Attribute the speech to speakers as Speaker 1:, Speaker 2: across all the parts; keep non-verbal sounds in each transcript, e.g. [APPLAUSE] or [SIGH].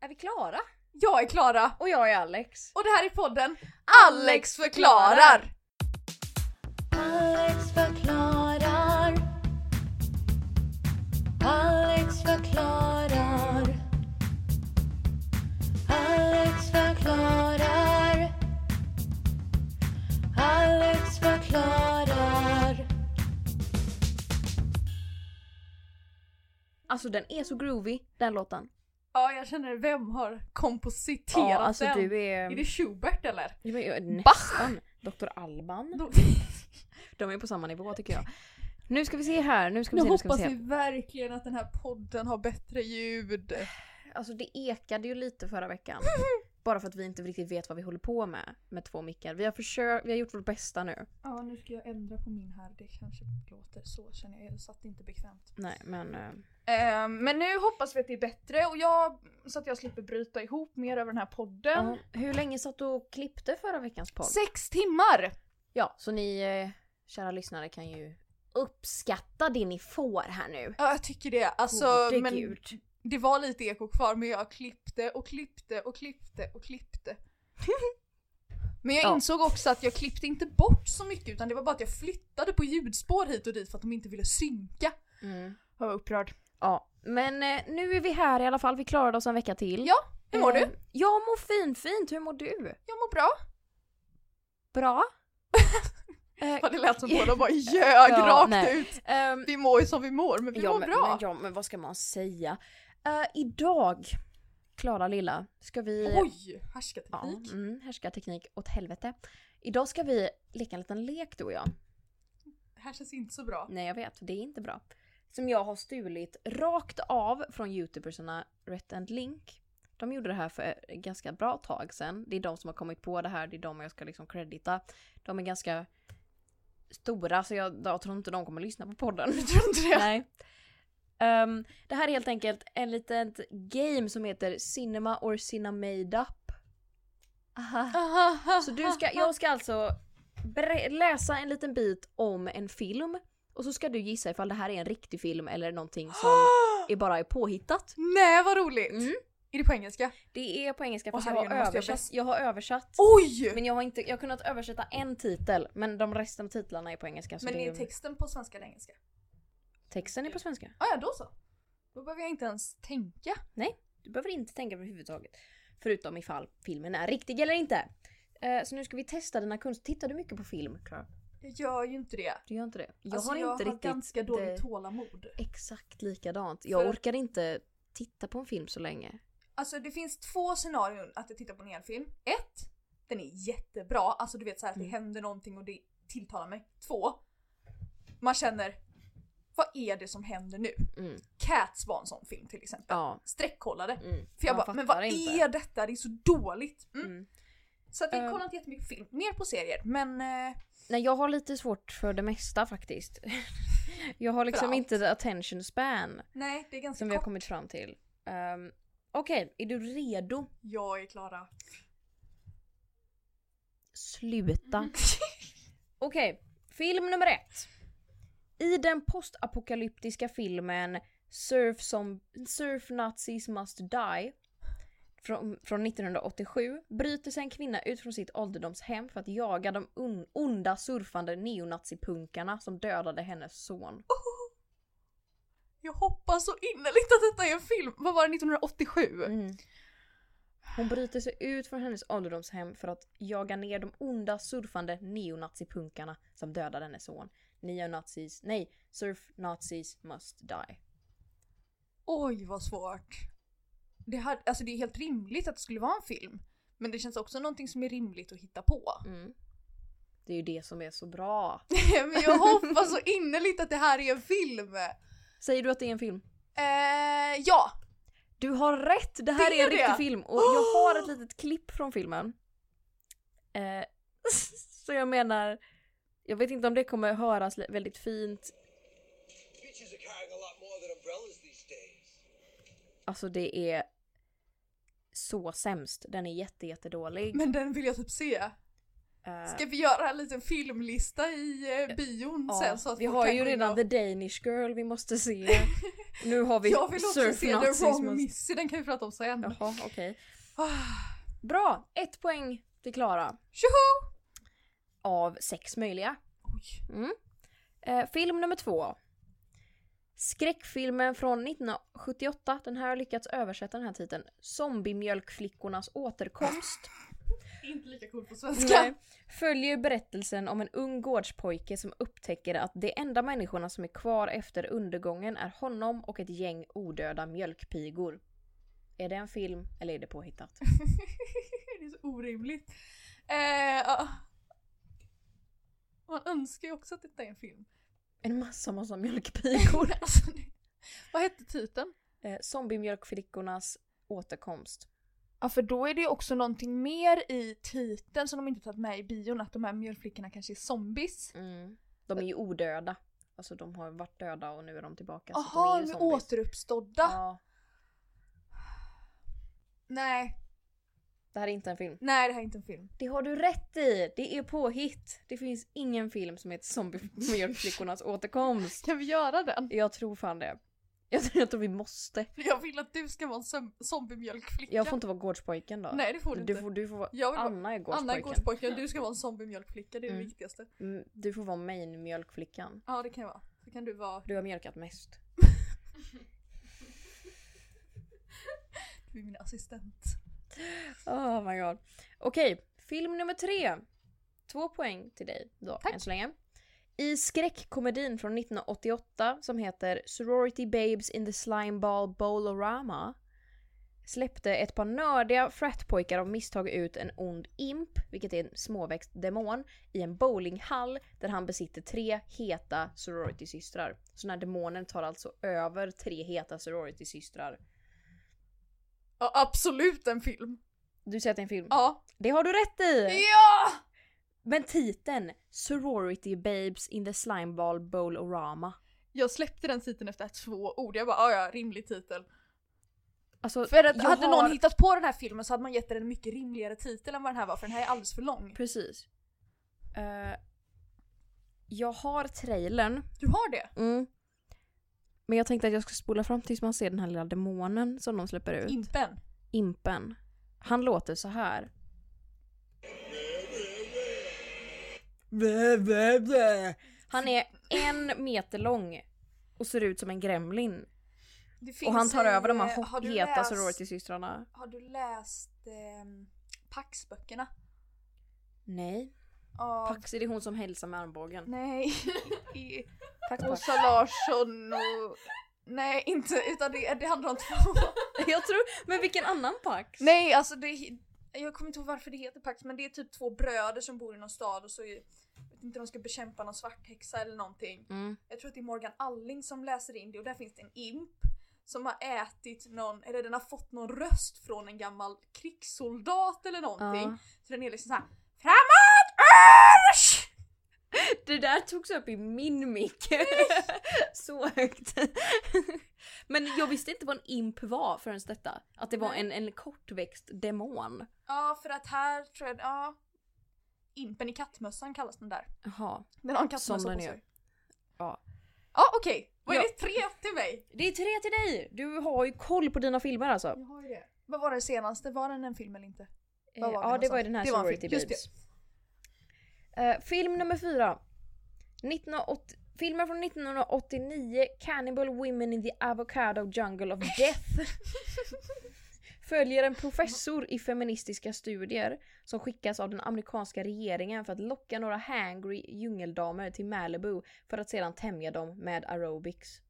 Speaker 1: Är vi klara?
Speaker 2: Jag är Klara
Speaker 1: Och jag är Alex.
Speaker 2: och det här är podden
Speaker 1: Alex förklarar.
Speaker 3: Alex förklarar. Alex förklarar. Alex förklarar. Alex förklarar.
Speaker 1: Alltså den är så groovy, den låten.
Speaker 2: Ja jag känner, vem har kompositerat
Speaker 1: Ja, alltså
Speaker 2: den?
Speaker 1: du är...
Speaker 2: Är det Schubert [LAUGHS] eller?
Speaker 1: Ja, men jag är nästan. Dr. Alban.
Speaker 2: Då,
Speaker 1: De är på samma nivå tycker jag. [LAUGHS] Nu ska vi se här, nu ska vi
Speaker 2: nu
Speaker 1: se, nu ska vi
Speaker 2: hoppas
Speaker 1: se.
Speaker 2: vi verkligen att den här podden har bättre ljud.
Speaker 1: Alltså det ekade ju lite förra [LAUGHS] veckan. Bara för att vi inte riktigt vet vad vi håller på med med två mickar. Vi har, försökt, vi har gjort vårt bästa nu.
Speaker 2: Ja nu ska jag ändra på min här, det kanske låter så känner jag, jag satt inte bekvämt.
Speaker 1: Nej men... eh,
Speaker 2: Ehm, men nu hoppas vi att det är bättre och jag, så att jag slipper bryta ihop mer över den här podden.
Speaker 1: ja. Hur länge satt du och klippte förra veckans podd?
Speaker 2: Sex timmar!
Speaker 1: Ja, så ni eh, kära lyssnare kan ju uppskatta det ni får här nu.
Speaker 2: Ja jag tycker det, alltså
Speaker 1: Gode
Speaker 2: men
Speaker 1: gud.
Speaker 2: det var lite eko kvar men jag klippte och klippte och klippte och [LAUGHS] klippte. Men jag
Speaker 1: Ja.
Speaker 2: insåg också att jag klippte inte bort så mycket utan det var bara att jag flyttade på ljudspår hit och dit för att de inte ville synka.
Speaker 1: Mm.
Speaker 2: Jag var upprörd.
Speaker 1: Ja, men eh, nu är vi här i alla fall. Vi klarade oss en vecka till.
Speaker 2: Ja, hur mår
Speaker 1: Eh,
Speaker 2: du?
Speaker 1: Jag mår fin, fint. Hur mår du?
Speaker 2: Jag mår bra. [LAUGHS]
Speaker 1: Bra? eh,
Speaker 2: Ja, det lät som båda [LAUGHS] bara ljög
Speaker 1: Ja,
Speaker 2: rakt
Speaker 1: nej.
Speaker 2: ut.
Speaker 1: [LAUGHS] ehm,
Speaker 2: Vi mår ju som vi mår men vi
Speaker 1: ja,
Speaker 2: mår
Speaker 1: men,
Speaker 2: bra.
Speaker 1: Men, ja, men vad ska man säga? Eh, idag, Klara lilla, ska vi...
Speaker 2: Oj,
Speaker 1: ja,
Speaker 2: härskarteknik.
Speaker 1: mm, härskarteknik åt helvete. Idag ska vi leka en liten lek du och jag.
Speaker 2: Det här känns inte så bra.
Speaker 1: Nej jag vet, det är inte bra. Som jag har stulit rakt av från youtubersarna Rätt and Link. De gjorde det här för ganska bra tag sedan. Det är de som har kommit på det här, det är de jag ska liksom credita. De är ganska stora så jag, jag tror inte de kommer lyssna på podden. [LAUGHS]
Speaker 2: Jag tror inte det.
Speaker 1: Nej. Ehm, det här är helt enkelt en litet game som heter Cinema or Cinema Made Up. Aha. Så du ska, jag ska alltså ber- läsa en liten bit om en film och så ska du gissa ifall det här är en riktig film eller någonting som är bara är påhittat.
Speaker 2: [GASPS] Nej vad roligt!
Speaker 1: Mm.
Speaker 2: Är det på engelska?
Speaker 1: Det är på engelska
Speaker 2: Åh,
Speaker 1: fast jag, har
Speaker 2: herregud, nu måste jag
Speaker 1: översatt, jag har översatt.
Speaker 2: Oj! Men,
Speaker 1: Men jag har, inte, jag har kunnat översätta en titel men de resten av titlarna är på engelska. Så det
Speaker 2: är
Speaker 1: är,
Speaker 2: texten på svenska eller engelska?
Speaker 1: texten är på svenska.
Speaker 2: Ah, ja, då så. Då behöver jag inte ens tänka.
Speaker 1: Du behöver inte tänka överhuvudtaget. Förutom ifall filmen är riktig eller inte. Eh, Så nu ska vi testa dina kunskaper. Tittar du mycket på film? Klara?
Speaker 2: Jag gör ju inte det.
Speaker 1: Du gör inte det? Jag
Speaker 2: Alltså,
Speaker 1: har
Speaker 2: jag
Speaker 1: inte
Speaker 2: har
Speaker 1: riktigt
Speaker 2: ganska dåligt
Speaker 1: det-
Speaker 2: tålamod.
Speaker 1: Exakt likadant. Jag
Speaker 2: För-
Speaker 1: orkar inte titta på en film så länge.
Speaker 2: Alltså det finns två scenarion att jag tittar på en hel film. Ett, den är jättebra. Alltså du vet så här att det
Speaker 1: Mm.
Speaker 2: händer någonting och det tilltalar mig. Två, man känner vad är det som händer nu?
Speaker 1: Mm.
Speaker 2: Cats var en sån film till exempel.
Speaker 1: Ja.
Speaker 2: Streckkollade.
Speaker 1: Mm.
Speaker 2: För jag
Speaker 1: Man
Speaker 2: bara, men
Speaker 1: fattar
Speaker 2: vad
Speaker 1: inte.
Speaker 2: är detta? Det är så dåligt. Mm.
Speaker 1: Mm.
Speaker 2: Så att
Speaker 1: Eh.
Speaker 2: jag kollar inte jättemycket film, mer på serier. Men eh,
Speaker 1: Nej jag har lite svårt för det mesta faktiskt. [LAUGHS] jag har liksom
Speaker 2: allt.
Speaker 1: inte the attention span
Speaker 2: nej, det är ganska
Speaker 1: som vi har
Speaker 2: kort.
Speaker 1: kommit fram till. Ehm, Okej, är du redo?
Speaker 2: Jag är Klara.
Speaker 1: Sluta. [LAUGHS] Okej, film nummer ett. I den postapokalyptiska filmen Surf, som, Surf Nazis Must Die från, från 1987 bryter sig en kvinna ut från sitt ålderdomshem för att jaga de un, onda surfande neonazipunkarna som dödade hennes son.
Speaker 2: Jag hoppas så innerligt att detta är en film. Vad var det 1987?
Speaker 1: Mm. Hon bryter sig ut från hennes ålderdomshem för att jaga ner de onda surfande neonazipunkarna som dödade hennes son. Neonazis, nej, surf nazis must die.
Speaker 2: Oj vad svårt. Det, här, alltså det är helt rimligt att det skulle vara en film. Men det känns också någonting som är rimligt att hitta
Speaker 1: [LAUGHS]
Speaker 2: på.
Speaker 1: Mm. Det är ju det som är så bra.
Speaker 2: men jag hoppas så innerligt att det här är en film.
Speaker 1: Säger du att det är en film?
Speaker 2: Eh, ja,
Speaker 1: Du har rätt! Det här
Speaker 2: Det
Speaker 1: är en
Speaker 2: är det.
Speaker 1: riktig film
Speaker 2: [GASPS]
Speaker 1: och jag har ett litet klipp från filmen. Eh, [LAUGHS] så jag menar, jag vet inte om det kommer höras li- väldigt fint.
Speaker 4: Beaches are carrying a lot more than umbrellas these days.
Speaker 1: Alltså det är så sämst. Den är jätte, jättedålig.
Speaker 2: men den vill jag typ se.
Speaker 1: Eh,
Speaker 2: Ska vi göra en liten filmlista i eh, bion
Speaker 1: ja,
Speaker 2: sen? Så att
Speaker 1: vi
Speaker 2: folk
Speaker 1: har
Speaker 2: kan
Speaker 1: ju
Speaker 2: gå in
Speaker 1: redan
Speaker 2: och- [LAUGHS]
Speaker 1: The Danish Girl vi måste se. Nu har vi
Speaker 2: Jag vill också se The Wrong
Speaker 1: surfnazismen.
Speaker 2: Missy, den kan vi prata om sen.
Speaker 1: Jaha, okej.
Speaker 2: Ah,
Speaker 1: Bra! Ett poäng till Klara.
Speaker 2: Tjoho!
Speaker 1: Av sex möjliga.
Speaker 2: Oj.
Speaker 1: Eh, film nummer två. Skräckfilmen från 1978, den här har lyckats översätta den här titeln. Zombiemjölkflickornas återkomst.
Speaker 2: Inte lika cool på svenska.
Speaker 1: Nej. Följer berättelsen om en ung gårdspojke som upptäcker att de enda människorna som är kvar efter undergången är honom och ett gäng odöda mjölkpigor. Är det en film eller är det påhittat?
Speaker 2: [LAUGHS] det är så orimligt. Eh, ja. Man önskar ju också att detta är en film.
Speaker 1: En massa massa mjölkpigor.
Speaker 2: [LAUGHS] Alltså, det- vad hette titeln?
Speaker 1: [LAUGHS] Eh, Zombiemjölkflickornas återkomst.
Speaker 2: Ja för då är det ju också någonting mer i titeln som de inte tagit med i bion, att de här mjölflickorna kanske är zombies.
Speaker 1: Mm. De är ju odöda. Alltså de har varit döda och nu är de tillbaka. så
Speaker 2: Jaha,
Speaker 1: de
Speaker 2: de
Speaker 1: är ju
Speaker 2: är
Speaker 1: zombies.
Speaker 2: återuppstådda.
Speaker 1: Ja,
Speaker 2: Nej,
Speaker 1: det här är inte en film.
Speaker 2: nej det här är inte en film.
Speaker 1: Det har du rätt i! Det är påhitt. Det finns ingen film som heter Zombiemjölkflickornas återkomst.
Speaker 2: Kan vi göra den?
Speaker 1: Jag tror fan det. [LAUGHS] Jag tror, jag tror vi måste.
Speaker 2: För jag vill att du ska vara en som- zombiemjölkflicka.
Speaker 1: Jag får inte vara gårdspojken då.
Speaker 2: Nej det får du inte.
Speaker 1: du får, du får vara...
Speaker 2: Jag vill vara
Speaker 1: Anna är gårdspojken.
Speaker 2: Anna är gårdspojken, du ska vara en zombiemjölkflicka, det är
Speaker 1: Mm.
Speaker 2: det viktigaste.
Speaker 1: Mm, Du får vara main-mjölkflickan.
Speaker 2: Ja det kan jag vara. Så kan du vara,
Speaker 1: Du har mjölkat mest.
Speaker 2: du är min assistent.
Speaker 1: Oh my god. Okej, film nummer tre. Två poäng till dig då, än så länge. I skräckkomedin från 1988 som heter Sorority Babes in the Slime Ball Bolorama släppte ett par nördiga fratpojkar av misstag ut en ond imp, vilket är en småväxt demon, i en bowlinghall där han besitter tre heta sorority-systrar. Så den här demonen tar alltså över tre heta sorority-systrar.
Speaker 2: Ja absolut en film.
Speaker 1: Du säger att det är en film?
Speaker 2: Ja.
Speaker 1: Det har du rätt i!
Speaker 2: Eh. Ja!
Speaker 1: Men titeln Sorority Babes in the Slimeball Bowl-orama.
Speaker 2: Jag släppte den titeln efter två ord, jag bara "Ah, ja, rimlig titel.
Speaker 1: Alltså,
Speaker 2: För att
Speaker 1: jag
Speaker 2: hade
Speaker 1: har-
Speaker 2: någon hittat på den här filmen så hade man gett den en mycket rimligare titel än vad den här var för den här är alldeles för lång.
Speaker 1: Precis. Eh, jag har trailern.
Speaker 2: Du har det?
Speaker 1: Men jag tänkte att jag ska spola fram tills man ser den här lilla demonen som de släpper ut.
Speaker 2: Impen.
Speaker 1: Impen. Han låter så här. Han är en meter lång och ser ut som en gremlin.
Speaker 2: Det finns
Speaker 1: Och han tar
Speaker 2: i,
Speaker 1: över de
Speaker 2: eh, har
Speaker 1: här
Speaker 2: du
Speaker 1: heta
Speaker 2: läst-
Speaker 1: sorority-systrarna.
Speaker 2: Har du läst ehm, Pax-böckerna?
Speaker 1: Nej.
Speaker 2: Av...
Speaker 1: Paxi det är hon som hälsar med armbågen.
Speaker 2: [LAUGHS]
Speaker 1: [LAUGHS]
Speaker 2: Nej. I
Speaker 1: Tack Pax.
Speaker 2: Åsa Larsson och... Nej inte, utan det, det handlar om två.
Speaker 1: Jag tror, men vilken annan Pax?
Speaker 2: Nej alltså det... Jag kommer inte ihåg varför det heter Pax men det är typ två bröder som bor i någon stad och så... är- Jag vet inte de ska bekämpa någon svarthäxa eller någonting.
Speaker 1: Mm.
Speaker 2: jag tror att det är Morgan Alling som läser in det och där finns det en imp som har ätit någon, eller den har fått någon röst från en gammal krigssoldat eller någonting.
Speaker 1: Ja.
Speaker 2: Så den är liksom såhär FRAMÅT ÖRS!
Speaker 1: Det där togs upp i min mick. [LAUGHS] så högt. [LAUGHS] men jag visste inte vad en imp var förrän detta. Att det var
Speaker 2: Nej.
Speaker 1: en, en kortväxt demon.
Speaker 2: Ja för att här tror jag, ja. Impen i kattmössan kallas den där.
Speaker 1: Jaha.
Speaker 2: Den har en
Speaker 1: Som
Speaker 2: kattmössa
Speaker 1: den
Speaker 2: på
Speaker 1: gör.
Speaker 2: sig.
Speaker 1: Ja.
Speaker 2: Ja okej, vad är
Speaker 1: Ja.
Speaker 2: det tre till mig?
Speaker 1: Det är tre till dig! Du har ju koll på dina filmer alltså.
Speaker 2: Jag har ju det. Vad var den senaste, var den en film eller inte?
Speaker 1: Eh,
Speaker 2: Vad var det
Speaker 1: ja, det var
Speaker 2: någonstans?
Speaker 1: ju den här
Speaker 2: Det var en
Speaker 1: Sorority
Speaker 2: film, just
Speaker 1: Babes. Eh, film nummer fyra. 1980, filmen från 1989, Cannibal Women in the Avocado Jungle of Death. följer en professor i feministiska studier som skickas av den amerikanska regeringen för att locka några hangry djungeldamer till Malibu för att sedan tämja dem med aerobics.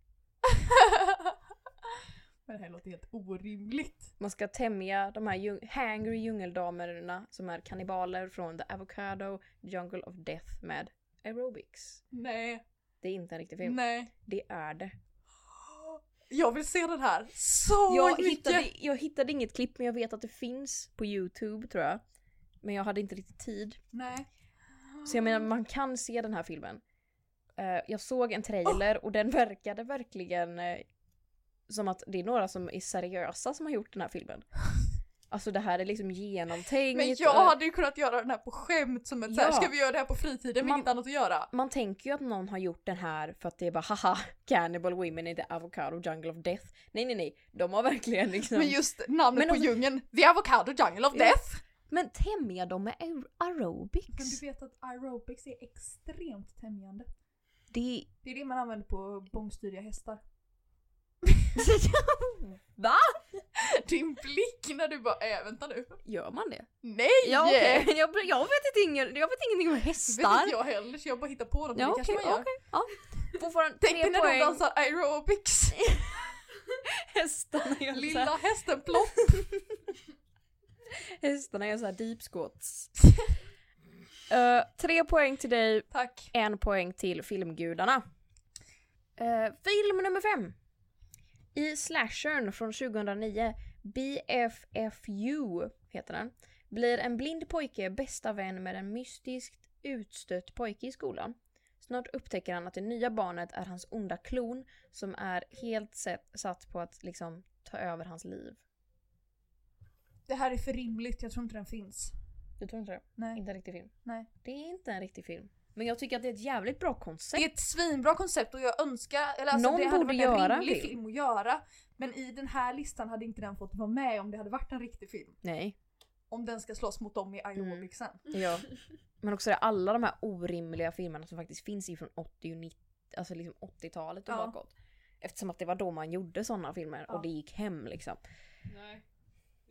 Speaker 2: Men det här låter helt orimligt.
Speaker 1: Man ska tämja de här djung- hangry djungeldamerna som är kannibaler från The Avocado Jungle of Death med aerobics.
Speaker 2: Nej,
Speaker 1: Det är inte en riktig film.
Speaker 2: nej.
Speaker 1: Det är det.
Speaker 2: Jag vill se den här så
Speaker 1: Jag
Speaker 2: mycket!
Speaker 1: hittade, jag hittade inget klipp men jag vet att det finns på Youtube tror jag. Men jag hade inte riktigt tid.
Speaker 2: Nej.
Speaker 1: Så jag menar man kan se den här filmen. Eh, jag såg en trailer och den verkade
Speaker 2: [LAUGHS]
Speaker 1: verkligen eh, som att det är några som är seriösa som har gjort den här filmen. Alltså det här är liksom genomtänkt.
Speaker 2: Men jag
Speaker 1: och-
Speaker 2: hade ju kunnat göra den här på skämt som ett så här,
Speaker 1: Ja.
Speaker 2: ska vi göra det här på fritiden med
Speaker 1: Man-
Speaker 2: inget annat att göra?
Speaker 1: Man tänker ju att någon har gjort den här för att det är bara haha, cannibal women in the avocado jungle of death. Nej nej nej, de har verkligen
Speaker 2: [LAUGHS]
Speaker 1: liksom...
Speaker 2: Men just namnet
Speaker 1: Men
Speaker 2: på
Speaker 1: alltså-
Speaker 2: djungeln, The Avocado Jungle of
Speaker 1: Ja.
Speaker 2: Death!
Speaker 1: Men tämja dem med aer-
Speaker 2: Men
Speaker 1: aerobics.
Speaker 2: du vet att aerobics är extremt tämjande.
Speaker 1: Det...
Speaker 2: Det är det man använder på bångstyriga hästar.
Speaker 1: Va?
Speaker 2: [LAUGHS] Din blick när du bara äh, vänta nu.
Speaker 1: [LAUGHS] Gör man det?
Speaker 2: Nej!
Speaker 1: Ja okej, [LAUGHS] jag, jag, vet inte, ingen- jag vet ingenting om
Speaker 2: Det vet
Speaker 1: hästar.
Speaker 2: inte jag heller så jag bara hittar på något.
Speaker 1: Ja
Speaker 2: det kanske
Speaker 1: okej,
Speaker 2: man gör.
Speaker 1: okej. Ja. [LAUGHS] Fortfarande
Speaker 2: Tänk dig
Speaker 1: tre
Speaker 2: när de
Speaker 1: poäng.
Speaker 2: dansar aerobics.
Speaker 1: [LAUGHS] Hästarna gör så här-
Speaker 2: Lilla hästen plopp.
Speaker 1: hästarna gör såhär deep [LAUGHS] squats. Eh, tre poäng till dig,
Speaker 2: Tack.
Speaker 1: en poäng till filmgudarna. Eh, film nummer fem. I slashern från 2009, BFFU heter den, blir en blind pojke bästa vän med en mystiskt utstött pojke i skolan. Snart upptäcker han att det nya barnet är hans onda klon som är helt set- satt på att liksom ta över hans liv.
Speaker 2: Det här är för rimligt, jag tror inte den finns.
Speaker 1: Du tror inte det?
Speaker 2: Nej.
Speaker 1: Inte en riktig film.
Speaker 2: Nej.
Speaker 1: Det är inte en riktig film. Men jag tycker att det är ett jävligt bra
Speaker 2: Det är
Speaker 1: koncept.
Speaker 2: ett svinbra koncept och jag önskar, eller alltså
Speaker 1: Någon
Speaker 2: det hade
Speaker 1: borde
Speaker 2: varit
Speaker 1: göra
Speaker 2: en rimlig
Speaker 1: en film.
Speaker 2: film. att göra. Men i den här listan hade inte den fått vara med om det hade varit en riktig film.
Speaker 1: Nej.
Speaker 2: Om den ska slåss mot
Speaker 1: Mm.
Speaker 2: dem i aerobicsen. [LAUGHS]
Speaker 1: Ja. Men också det, alla de här orimliga filmerna som faktiskt finns ifrån 80 och 90, alltså liksom 80-talet och
Speaker 2: Ja.
Speaker 1: bakåt. Eftersom att det var då man gjorde sådana filmer
Speaker 2: Ja.
Speaker 1: och det gick hem liksom.
Speaker 5: Nej.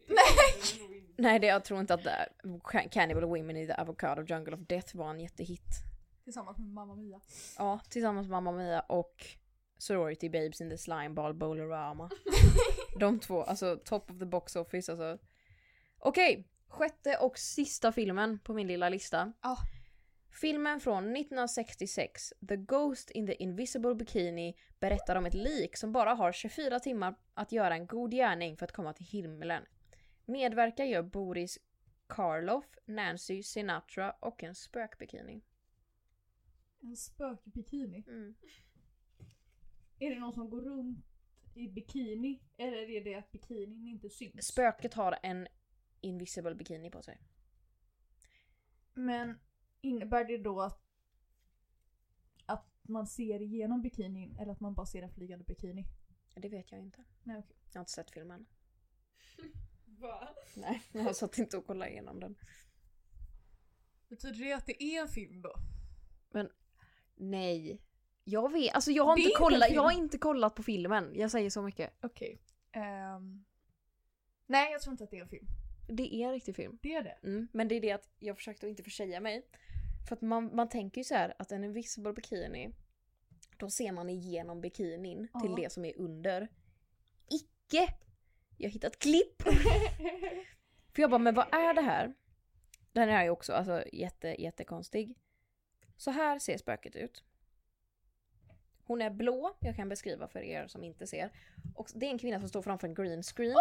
Speaker 2: [LAUGHS]
Speaker 5: Nej!
Speaker 1: Nej, det, jag tror inte att det är. Cannibal Women in the Avocado Jungle of Death var en jättehit.
Speaker 2: Tillsammans med Mamma Mia.
Speaker 1: Ja, tillsammans med Mamma Mia och Sorority Babes in the Slime Ball Bolorama. De två, alltså top of the box office alltså. Okej, sjätte och sista filmen på min lilla lista.
Speaker 2: Ja.
Speaker 1: Filmen från 1966, The Ghost in the Invisible Bikini, berättar om ett lik som bara har 24 timmar att göra en god gärning för att komma till himlen. Medverkar gör Boris Karloff, Nancy Sinatra och en spökbikini.
Speaker 2: En spökbikini.
Speaker 1: Mm.
Speaker 2: Är det någon som går runt i bikini? Eller är det att bikinin inte syns?
Speaker 1: Spöket har en invisible bikini på sig.
Speaker 2: Men innebär det då att, att man ser igenom bikinin eller att man bara ser en flygande bikini?
Speaker 1: Det vet jag inte.
Speaker 2: Nej, okej.
Speaker 1: Jag har inte sett filmen.
Speaker 5: Va?
Speaker 1: Nej, [LAUGHS] jag har satt inte och kollat igenom den.
Speaker 2: Betyder det att det är en film då?
Speaker 1: Nej. Jag vet, alltså jag har,
Speaker 2: Det är
Speaker 1: inte
Speaker 2: inte en
Speaker 1: kollat, jag har
Speaker 2: film.
Speaker 1: inte kollat på filmen. Jag säger så mycket.
Speaker 2: Okej. Ehm, nej, jag tror inte att det är en film.
Speaker 1: Det är en riktig film.
Speaker 2: Det
Speaker 1: [LAUGHS]
Speaker 2: är det.
Speaker 1: Mm. Men det är det att jag försökte att inte försäga mig. För att man, man tänker ju så här att en invisible bikini, då ser man igenom bikinin
Speaker 2: Ja.
Speaker 1: till det som är under. Icke! Jag hittade ett klipp! För jag bara, men vad är det här? Den är ju också alltså, jätte, jättekonstig. Så här ser spöket ut. Hon är blå, jag kan beskriva för er som inte ser. Och det är en kvinna som står framför en green
Speaker 2: [LAUGHS]
Speaker 1: screen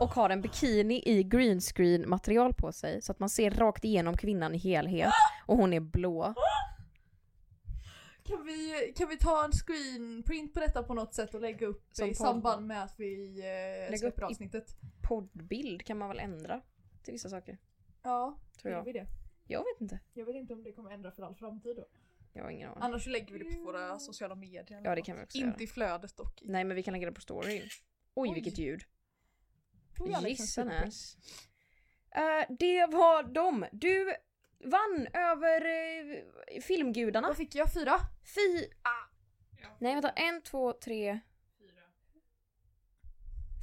Speaker 1: och har en bikini i green screen material på sig så att man ser rakt igenom kvinnan i helhet och hon är blå.
Speaker 2: kan, vi, kan vi ta en screenprint på detta på något sätt och lägga upp
Speaker 1: Som
Speaker 2: i
Speaker 1: podd.
Speaker 2: samband med att vi eh,
Speaker 1: upp
Speaker 2: släpper
Speaker 1: i-
Speaker 2: avsnittet?
Speaker 1: Poddbild kan man väl ändra till vissa saker,
Speaker 2: Ja,
Speaker 1: tror
Speaker 2: gör
Speaker 1: jag.
Speaker 2: vi det?
Speaker 1: Jag vet inte.
Speaker 2: Jag vet inte om det kommer ändra för all framtid då.
Speaker 1: Jag har ingen aning.
Speaker 2: Annars så lägger vi det på våra sociala medier. eller
Speaker 1: Ja, det
Speaker 2: något.
Speaker 1: kan vi också
Speaker 2: Inte
Speaker 1: göra.
Speaker 2: i flödet dock.
Speaker 1: Nej men vi kan lägga det på storyn. Oj,
Speaker 2: Oj.
Speaker 1: vilket ljud.
Speaker 2: Oj, Alex, en
Speaker 1: Gissanäs. liksom Eh, det var dem. Du vann över eh, filmgudarna.
Speaker 2: Vad fick jag? Fyra?
Speaker 1: Fy...
Speaker 2: Ah.
Speaker 5: Ja.
Speaker 1: Nej vänta, en, två, tre,
Speaker 5: Fyra.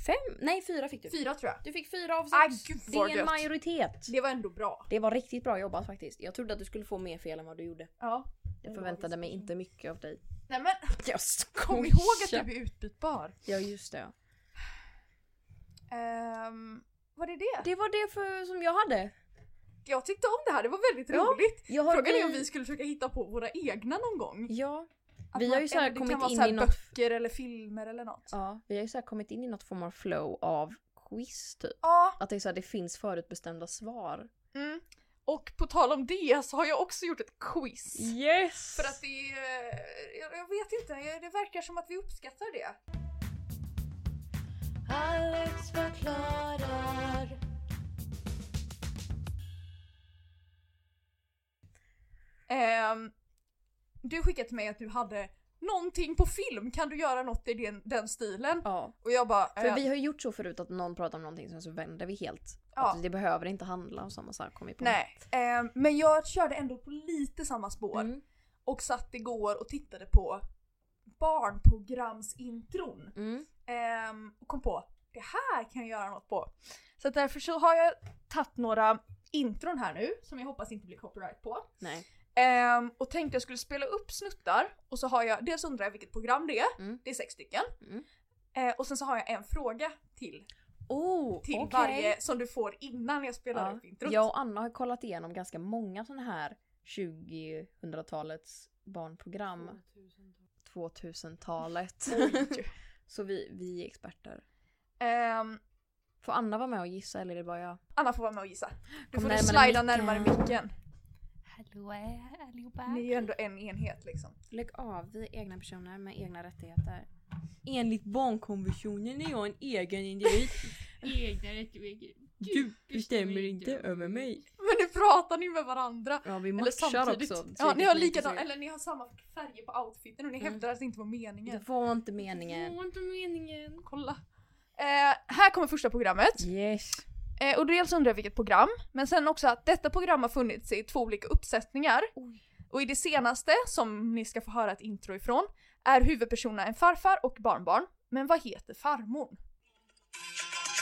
Speaker 1: fem? Nej, fyra fick du.
Speaker 2: Fyra tror jag.
Speaker 1: Du fick fyra av sex.
Speaker 2: Ah, gud,
Speaker 1: det är
Speaker 2: vad
Speaker 1: en
Speaker 2: gött.
Speaker 1: majoritet.
Speaker 2: Det var ändå bra.
Speaker 1: Det var riktigt bra jobbat faktiskt. Jag trodde att du skulle få mer fel än vad du gjorde.
Speaker 2: Ja.
Speaker 1: Jag förväntade mig inte mycket av dig.
Speaker 2: Nej
Speaker 1: [LAUGHS]
Speaker 2: men
Speaker 1: Jag
Speaker 2: kom
Speaker 1: skojar!
Speaker 2: ihåg att du är utbytbar.
Speaker 1: Ja just det.
Speaker 2: Um, var det det?
Speaker 1: Det var det för, som jag hade.
Speaker 2: Jag tyckte om det här, det var väldigt
Speaker 1: Ja,
Speaker 2: roligt.
Speaker 1: Jag har
Speaker 2: Frågan är om vi skulle försöka hitta på våra egna någon gång.
Speaker 1: Ja.
Speaker 2: Att
Speaker 1: Vi
Speaker 2: man-
Speaker 1: har ju så här
Speaker 2: eller det kan
Speaker 1: kommit
Speaker 2: vara
Speaker 1: in
Speaker 2: så här
Speaker 1: i något-
Speaker 2: böcker eller filmer eller något. Ja,
Speaker 1: ja. Vi har ju så här kommit in i något form av flow av quiz typ. Att det är så här, det finns förutbestämda svar.
Speaker 2: mm. och på tal om det så har jag också gjort ett quiz.
Speaker 1: Mm. Yes!
Speaker 2: För att det är, eh, jag, jag vet inte, det verkar som att vi uppskattar det.
Speaker 3: Alex förklarar.
Speaker 2: Ehm, du skickade till mig att du hade någonting på film, kan du göra något i den, den stilen?
Speaker 1: Ja.
Speaker 2: Och jag bara...
Speaker 1: För
Speaker 2: eh,
Speaker 1: vi har ju gjort så förut att någon pratar om någonting sen så vänder vi helt.
Speaker 2: Ja.
Speaker 1: Att det behöver inte handla om samma sak kom vi på.
Speaker 2: Nej, ehm, men jag körde ändå på lite samma spår.
Speaker 1: Mm.
Speaker 2: Och satt igår och tittade på barnprogramsintron.
Speaker 1: Mm.
Speaker 2: Ehm, och kom på, det här kan jag göra något på. Så att därför så har jag tagit några intron här nu, som jag hoppas inte blir copyright på.
Speaker 1: Nej.
Speaker 2: Ehm, och tänkte jag skulle spela upp snuttar och så har jag, dels undrar jag vilket program det är,
Speaker 1: Mm.
Speaker 2: det är sex stycken.
Speaker 1: Mm.
Speaker 2: Eh, och sen så har jag en fråga till,
Speaker 1: Oh,
Speaker 2: till
Speaker 1: okej.
Speaker 2: varje som du får innan jag spelar
Speaker 1: Ja.
Speaker 2: upp introt.
Speaker 1: Jag och Anna har kollat igenom ganska många sådana här 2000-talets barnprogram. 2000-talet.
Speaker 2: Oj.
Speaker 1: [LAUGHS] så vi, vi är experter.
Speaker 2: Ehm,
Speaker 1: Får Anna vara med och gissa eller är det bara jag?
Speaker 2: Anna får vara med och gissa. Nu
Speaker 1: Kom
Speaker 2: får du
Speaker 1: närmare
Speaker 2: slida
Speaker 1: micken.
Speaker 2: närmare micken.
Speaker 6: Hallå allihopa!
Speaker 2: Ni är ju ändå en enhet liksom.
Speaker 1: Lägg av, vi är egna personer med egna rättigheter. Enligt barnkonventionen är jag en egen individ.
Speaker 5: Egna rättigheter.
Speaker 1: Du bestämmer inte över mig.
Speaker 2: Men nu pratar ni med varandra.
Speaker 1: Ja vi
Speaker 2: Eller
Speaker 1: matchar
Speaker 2: samtidigt.
Speaker 1: också.
Speaker 2: Ja, ni har likadana,
Speaker 1: likadant.
Speaker 2: eller ni har samma färger på outfiten och ni
Speaker 1: Mm.
Speaker 2: hävdar att det inte var meningen.
Speaker 1: Det var inte
Speaker 5: Det
Speaker 1: meningen.
Speaker 5: var inte meningen.
Speaker 2: Kolla. Eh, här kommer första programmet.
Speaker 1: Yes.
Speaker 2: Eh, och dels undrar jag vilket program, men sen också att detta program har funnits i två olika uppsättningar. Och i det senaste, som ni ska få höra ett intro ifrån, är huvudpersonerna en farfar och barnbarn. Men vad heter farmor?
Speaker 4: I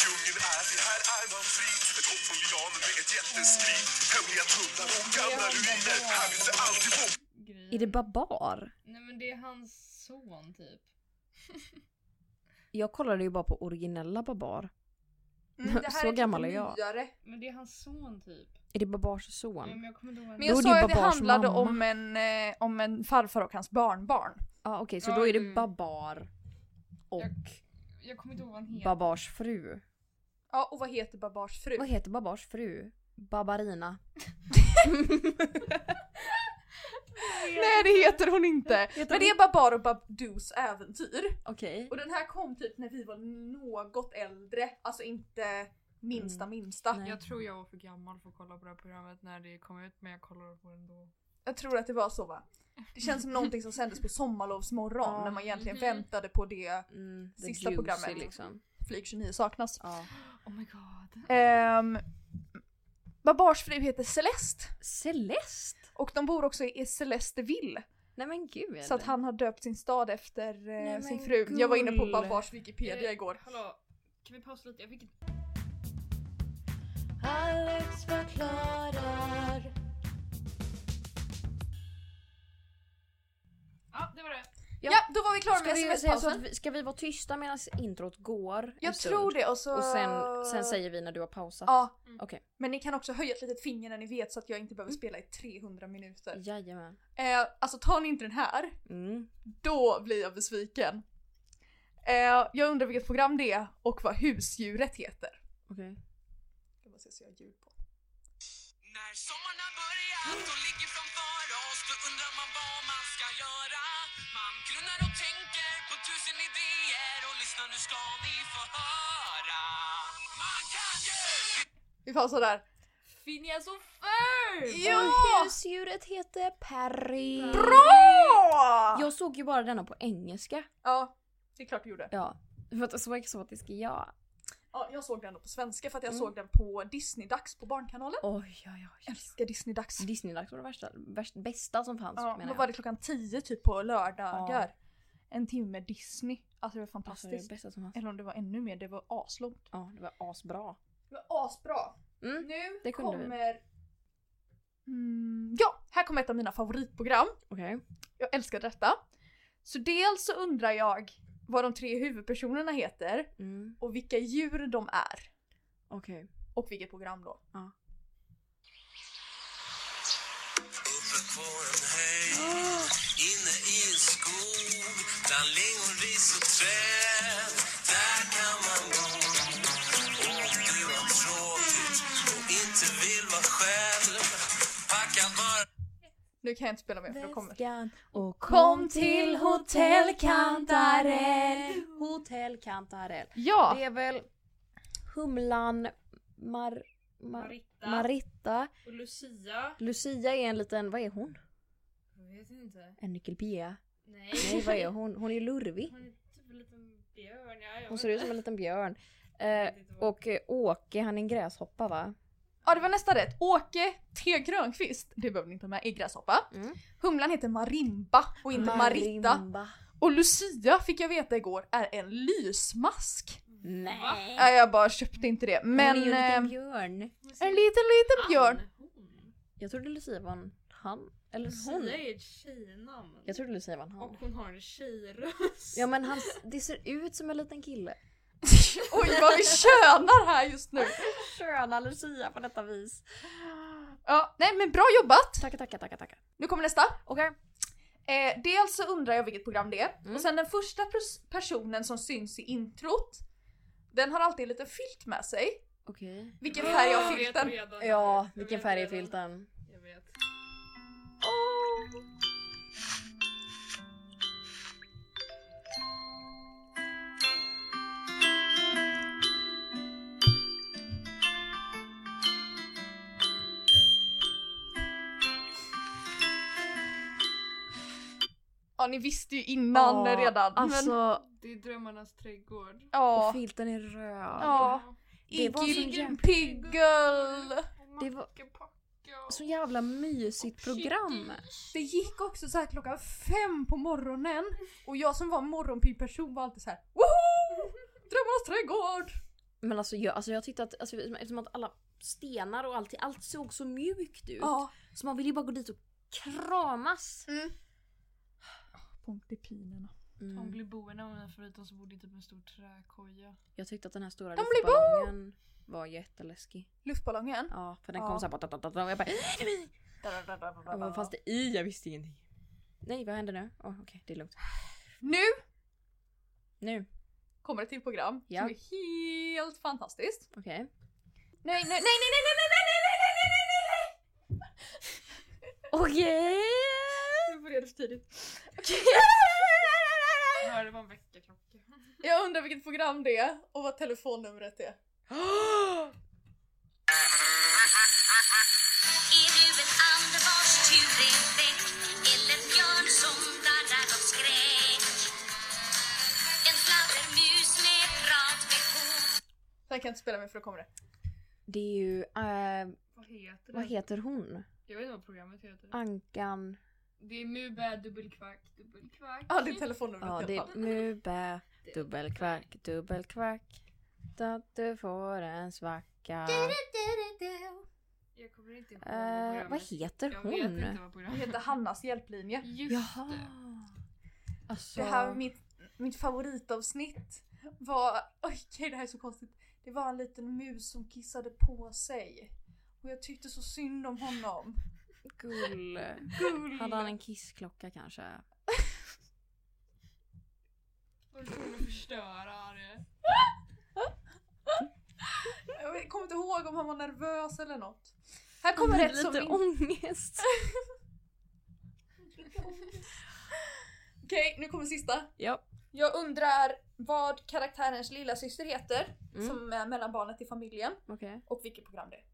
Speaker 4: djungeln är vi, här är man fri Ett hopp från lianen med ett jätteskrik Hemliga tunnlar och gamla ruiner Här finns det alltid bo
Speaker 5: Grejen.
Speaker 1: Är det Babar?
Speaker 5: Nej men det är hans son typ.
Speaker 1: Jag kollade ju bara på originella Babar. [LAUGHS]
Speaker 2: Mm, det här
Speaker 1: Så
Speaker 2: är lite
Speaker 1: gammal är jag.
Speaker 2: nyare.
Speaker 5: Men det är hans son typ.
Speaker 1: Är det Babars son?
Speaker 5: Ja, men jag kommer inte ihåg vad
Speaker 2: Men
Speaker 1: Då
Speaker 2: jag
Speaker 1: är
Speaker 5: han-
Speaker 1: det
Speaker 2: sa
Speaker 1: ju
Speaker 2: ju att det
Speaker 1: Babars
Speaker 2: handlade
Speaker 1: mamma.
Speaker 2: om en, eh, om en farfar och hans barnbarn.
Speaker 1: Ja okej, så
Speaker 5: Ja,
Speaker 1: då är det
Speaker 5: mm.
Speaker 1: Babar och
Speaker 5: Jag kommer inte ihåg vad han heter.
Speaker 1: Babars fru.
Speaker 2: Ja, och vad heter Babars fru? [LAUGHS]
Speaker 1: Vad heter Babars fru? Babarina.
Speaker 2: Nej det heter hon
Speaker 1: [LAUGHS]
Speaker 2: inte!
Speaker 1: Heter
Speaker 2: Men det är Babar och Babdus äventyr.
Speaker 1: Okej.
Speaker 2: Och den här kom typ när vi var något äldre, alltså inte minsta
Speaker 1: Mm.
Speaker 2: minsta.
Speaker 1: Nej.
Speaker 5: Jag tror jag var för gammal för att kolla på det här programmet när det kom ut men jag kollade på det ändå.
Speaker 2: Jag tror att det var så va? Det känns som någonting som sändes på sommarlovsmorgon
Speaker 1: Ja. Mm-hmm.
Speaker 2: när man egentligen
Speaker 5: Mhm.
Speaker 2: väntade på det
Speaker 1: Mm, the
Speaker 2: Sista programmet.
Speaker 1: liksom.
Speaker 2: Flyg 29 saknas.
Speaker 1: Ja.
Speaker 5: Oh my god.
Speaker 2: Ehm, Babars fru heter Celeste
Speaker 1: Celeste?
Speaker 2: och de bor också i Celesteville.
Speaker 1: Nej men gud.
Speaker 2: Så att han har döpt sin stad efter eh,
Speaker 1: Nej,
Speaker 2: sin
Speaker 1: men
Speaker 2: fru. Jag var inne på
Speaker 1: gull.
Speaker 2: Babars Wikipedia
Speaker 5: Eh,
Speaker 2: igår.
Speaker 5: Hallå, kan vi pausa lite? Jag fick ett...
Speaker 3: Alex förklarar.
Speaker 5: Ja, det var det.
Speaker 2: Ja, då var vi klara
Speaker 1: Ska
Speaker 2: med
Speaker 1: vi, säga så
Speaker 2: sms-pausen.
Speaker 1: att vi, ska vi vara tysta medan introt går? en
Speaker 2: Jag
Speaker 1: stund?
Speaker 2: tror det och så...
Speaker 1: Och sen, sen säger vi när du har pausat?
Speaker 2: Ja, Mm.
Speaker 1: Okej, Mm.
Speaker 2: men ni kan också höja ett litet finger när ni vet så att jag inte behöver spela i 300 minuter.
Speaker 1: jajamän.
Speaker 2: Eh, alltså tar ni inte den här,
Speaker 1: Mm.
Speaker 2: då blir jag besviken. Eh, jag undrar vilket program det är och vad husdjuret heter.
Speaker 1: Okej.
Speaker 2: Jag måste se så jag har ljud på.
Speaker 7: När sommaren har börjat och ligger framför oss Då undrar man vad man ska göra Man grunnar och tänker på tusen idéer Och lyssna nu ska ni få höra Man kan ju!
Speaker 2: Vi pausar där.
Speaker 5: Phineas och Ferb!
Speaker 2: Ja!
Speaker 1: Och husdjuret heter Perry.
Speaker 2: Bra!
Speaker 1: Jag såg ju bara denna på engelska.
Speaker 2: Ja, det är klart du gjorde.
Speaker 1: Ja. För att så exotisk är jag.
Speaker 2: Ja, jag såg den då på svenska för att jag
Speaker 1: Mm.
Speaker 2: såg den på Disney-dags på Barnkanalen.
Speaker 1: Oj, oj, oj.
Speaker 2: Älskar Disney-dags.
Speaker 1: Disneydags var det värsta, värst, bästa som fanns
Speaker 2: Ja,
Speaker 1: menar
Speaker 2: då
Speaker 1: jag.
Speaker 2: var det klockan 10 typ på lördagar. En timme Disney. Alltså det var
Speaker 1: alltså,
Speaker 2: fantastiskt.
Speaker 1: det bästa som fanns.
Speaker 2: Eller om det var ännu mer, det var aslångt.
Speaker 1: Ja, det var asbra.
Speaker 2: Det var asbra.
Speaker 1: Mm.
Speaker 2: Nu
Speaker 1: Det kunde vi.
Speaker 2: kommer... Mm, ja, här kommer ett av mina favoritprogram.
Speaker 1: Okej.
Speaker 2: Jag älskar detta. Så dels så undrar jag vad de tre huvudpersonerna heter
Speaker 1: Mm.
Speaker 2: och vilka djur de är.
Speaker 1: Okej.
Speaker 2: Och vilket program då.
Speaker 7: Uppe på en höjd Inne i en skog Bland lingon, ris och träd Där kan man bo Om du har tråkigt och inte vill vara själv Packa bara
Speaker 2: Nu kan jag inte spela mer för då kommer...
Speaker 1: Väskan och kom till Hotell Kantarell. Hotell Kantarell.
Speaker 2: Ja!
Speaker 1: Det är väl Humlan, Mar... Ma-
Speaker 8: Maritta.
Speaker 1: Maritta.
Speaker 8: och Lucia.
Speaker 1: Lucia är en liten, vad är hon?
Speaker 8: Jag vet inte.
Speaker 1: En nyckelpia?
Speaker 8: Nej.
Speaker 1: Nej vad är hon? Hon är lurvig.
Speaker 8: Hon är typ en liten björn. Ja, jag
Speaker 1: Hon
Speaker 8: vet
Speaker 1: ser ut
Speaker 8: inte.
Speaker 1: som en liten björn.
Speaker 8: Jag
Speaker 1: Eh,
Speaker 8: vet inte vad-
Speaker 1: och eh, Åke, han är en gräshoppa va?
Speaker 2: Ja det var nästa rätt. Åke T Grönqvist, det behöver ni inte ha med, är gräshoppa.
Speaker 1: Mm.
Speaker 2: Humlan heter Marimba och inte Maritta.
Speaker 1: Marimba.
Speaker 2: Och Lucia fick jag veta igår är en lysmask.
Speaker 1: Nej.
Speaker 2: Nej jag bara köpte inte det. Men eh, ehm,
Speaker 1: hon är ju en
Speaker 2: en,
Speaker 1: liten björn.
Speaker 2: en liten liten björn. [LAUGHS]
Speaker 8: Han, hon.
Speaker 1: Jag trodde Lucia var en han. Eller hon.
Speaker 8: Lucia är ett tjejnamn.
Speaker 1: Jag trodde Lucia var en
Speaker 8: Och
Speaker 1: han.
Speaker 8: hon har en tjejröst.
Speaker 1: Ja men han, det ser ut som en liten kille.
Speaker 2: Oj vad vi könar här just nu.
Speaker 1: Sköna Lucia på detta vis.
Speaker 2: Ja, nej men bra jobbat!
Speaker 1: Tackar tackar tackar tackar.
Speaker 2: Nu kommer nästa. Okej. Eh, dels så undrar jag vilket program det är.
Speaker 1: Mm.
Speaker 2: Och sen den första pers- personen som syns i introt, den har alltid en liten filt med sig.
Speaker 1: Okej.
Speaker 2: Vilken färg
Speaker 1: Ah,
Speaker 2: har
Speaker 5: Jag vet
Speaker 2: filten?
Speaker 1: Ja,
Speaker 5: redan. Jag
Speaker 1: vilken
Speaker 5: vet
Speaker 1: färg är
Speaker 5: redan.
Speaker 1: filten?
Speaker 5: Jag vet.
Speaker 2: Ja ni visste ju innan
Speaker 1: Ja,
Speaker 2: redan.
Speaker 1: Alltså,
Speaker 2: men,
Speaker 5: Det är drömmarnas trädgård.
Speaker 2: ja.
Speaker 1: filten är röd.
Speaker 2: ja.
Speaker 1: Det var så
Speaker 2: Iggy
Speaker 1: jävla-
Speaker 2: Piggle!
Speaker 1: Det var- Så jävla mysigt program.
Speaker 2: Det gick också så här klockan fem på morgonen och jag som var morgonpigg person var alltid så här woho! Drömmarnas trädgård!
Speaker 1: Men alltså jag, alltså jag tyckte att, alltså, eftersom att alla stenar och allt, allt såg så mjukt ut.
Speaker 2: Ja.
Speaker 1: Så man ville ju bara gå dit och kramas.
Speaker 2: Pontipinerna.
Speaker 1: Mm.
Speaker 5: Hon blir boende med mina förutom så bodde i typ en stor träkoja.
Speaker 1: Jag tyckte att den här stora
Speaker 2: De blir
Speaker 1: luftballongen var jätteläskig.
Speaker 2: Luftballongen.
Speaker 1: Ja, för den
Speaker 2: Ja.
Speaker 1: kom såhär bara... Och jag bara
Speaker 2: [LAUGHS]
Speaker 1: "Åh, vad fanns det i? Jag visste ingenting. Nej, vad händer nu? Åh, Okej, det är lugnt.
Speaker 2: Nu
Speaker 1: Nu,
Speaker 2: kommer ett till program
Speaker 1: Ja.
Speaker 2: som är helt fantastiskt.
Speaker 1: okej.
Speaker 2: Nej, nej, nej, nej, nej, nej, nej, nej, nej, nej, nej, nej, nej, nej!
Speaker 1: Okej!
Speaker 2: Nu började för tidigt. Okej.
Speaker 5: Jag hörde bara en väckarklocka.
Speaker 2: Jag undrar vilket program det är och vad telefonnumret är.
Speaker 9: Är du en ande vars tur är väck? Eller en björn som darrar av skräck? En fladdermus med pratbehov?
Speaker 2: Sen kan jag inte spela mer för då kommer det.
Speaker 1: Det är ju... eh,
Speaker 5: Vad heter det?
Speaker 1: vad heter hon?
Speaker 5: Jag vet inte vad programmet heter.
Speaker 1: Ankan...
Speaker 5: Det är Mubä dubbelkvack dubbelkvack.
Speaker 2: Ja, ah, det är telefonnumret
Speaker 1: Ja,
Speaker 2: i
Speaker 1: det
Speaker 2: alla
Speaker 1: är
Speaker 2: fall.
Speaker 1: mube, dubbelkvark, dubbelkvark. Att du får
Speaker 2: [LAUGHS]
Speaker 1: en svacka.
Speaker 5: Jag kommer inte ihåg
Speaker 1: Eh, vad heter
Speaker 5: Jag vet inte
Speaker 1: hon?
Speaker 5: vad
Speaker 2: Det
Speaker 5: programmet
Speaker 2: heter Hannas hjälplinje.
Speaker 5: Just
Speaker 1: Jaha.
Speaker 5: det.
Speaker 1: Alltså,
Speaker 2: Det här var mitt, mitt favoritavsnitt var, okej det här är så konstigt. Det var en liten mus som kissade på sig. Och jag tyckte så synd om honom.
Speaker 1: gull.
Speaker 2: Gull.
Speaker 1: Hade han en kissklocka kanske?
Speaker 5: Var du tvungen att förstöra det?
Speaker 2: Jag kommer inte ihåg om han var nervös eller något. Här
Speaker 1: [LAUGHS]
Speaker 2: kommer rätt som
Speaker 1: Lite
Speaker 2: min...
Speaker 1: ångest.
Speaker 2: [LAUGHS]
Speaker 1: [LAUGHS]
Speaker 2: Okej, nu kommer sista.
Speaker 1: ja.
Speaker 2: Jag undrar vad karaktärens lilla syster heter
Speaker 1: Mm.
Speaker 2: som är mellanbarnet i familjen
Speaker 1: Okej.
Speaker 2: och vilket program det är.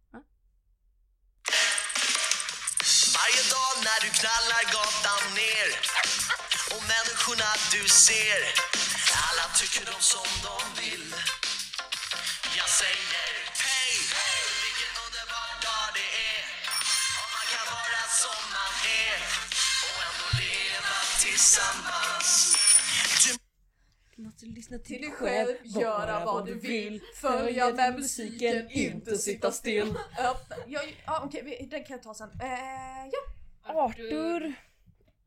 Speaker 7: Varje dag när du knallar gatan ner och människorna du ser alla tycker de som de vill Jag säger hej, vilken underbar dag det är och man kan vara som man är och ändå leva tillsammans
Speaker 1: Du måste lyssna till,
Speaker 2: Till dig själv, göra vad du vill, följa med musiken, inte sitta still. Ja, jag- ja, okej, vi- den kan jag ta sen. Eh, ja.
Speaker 1: Arthur.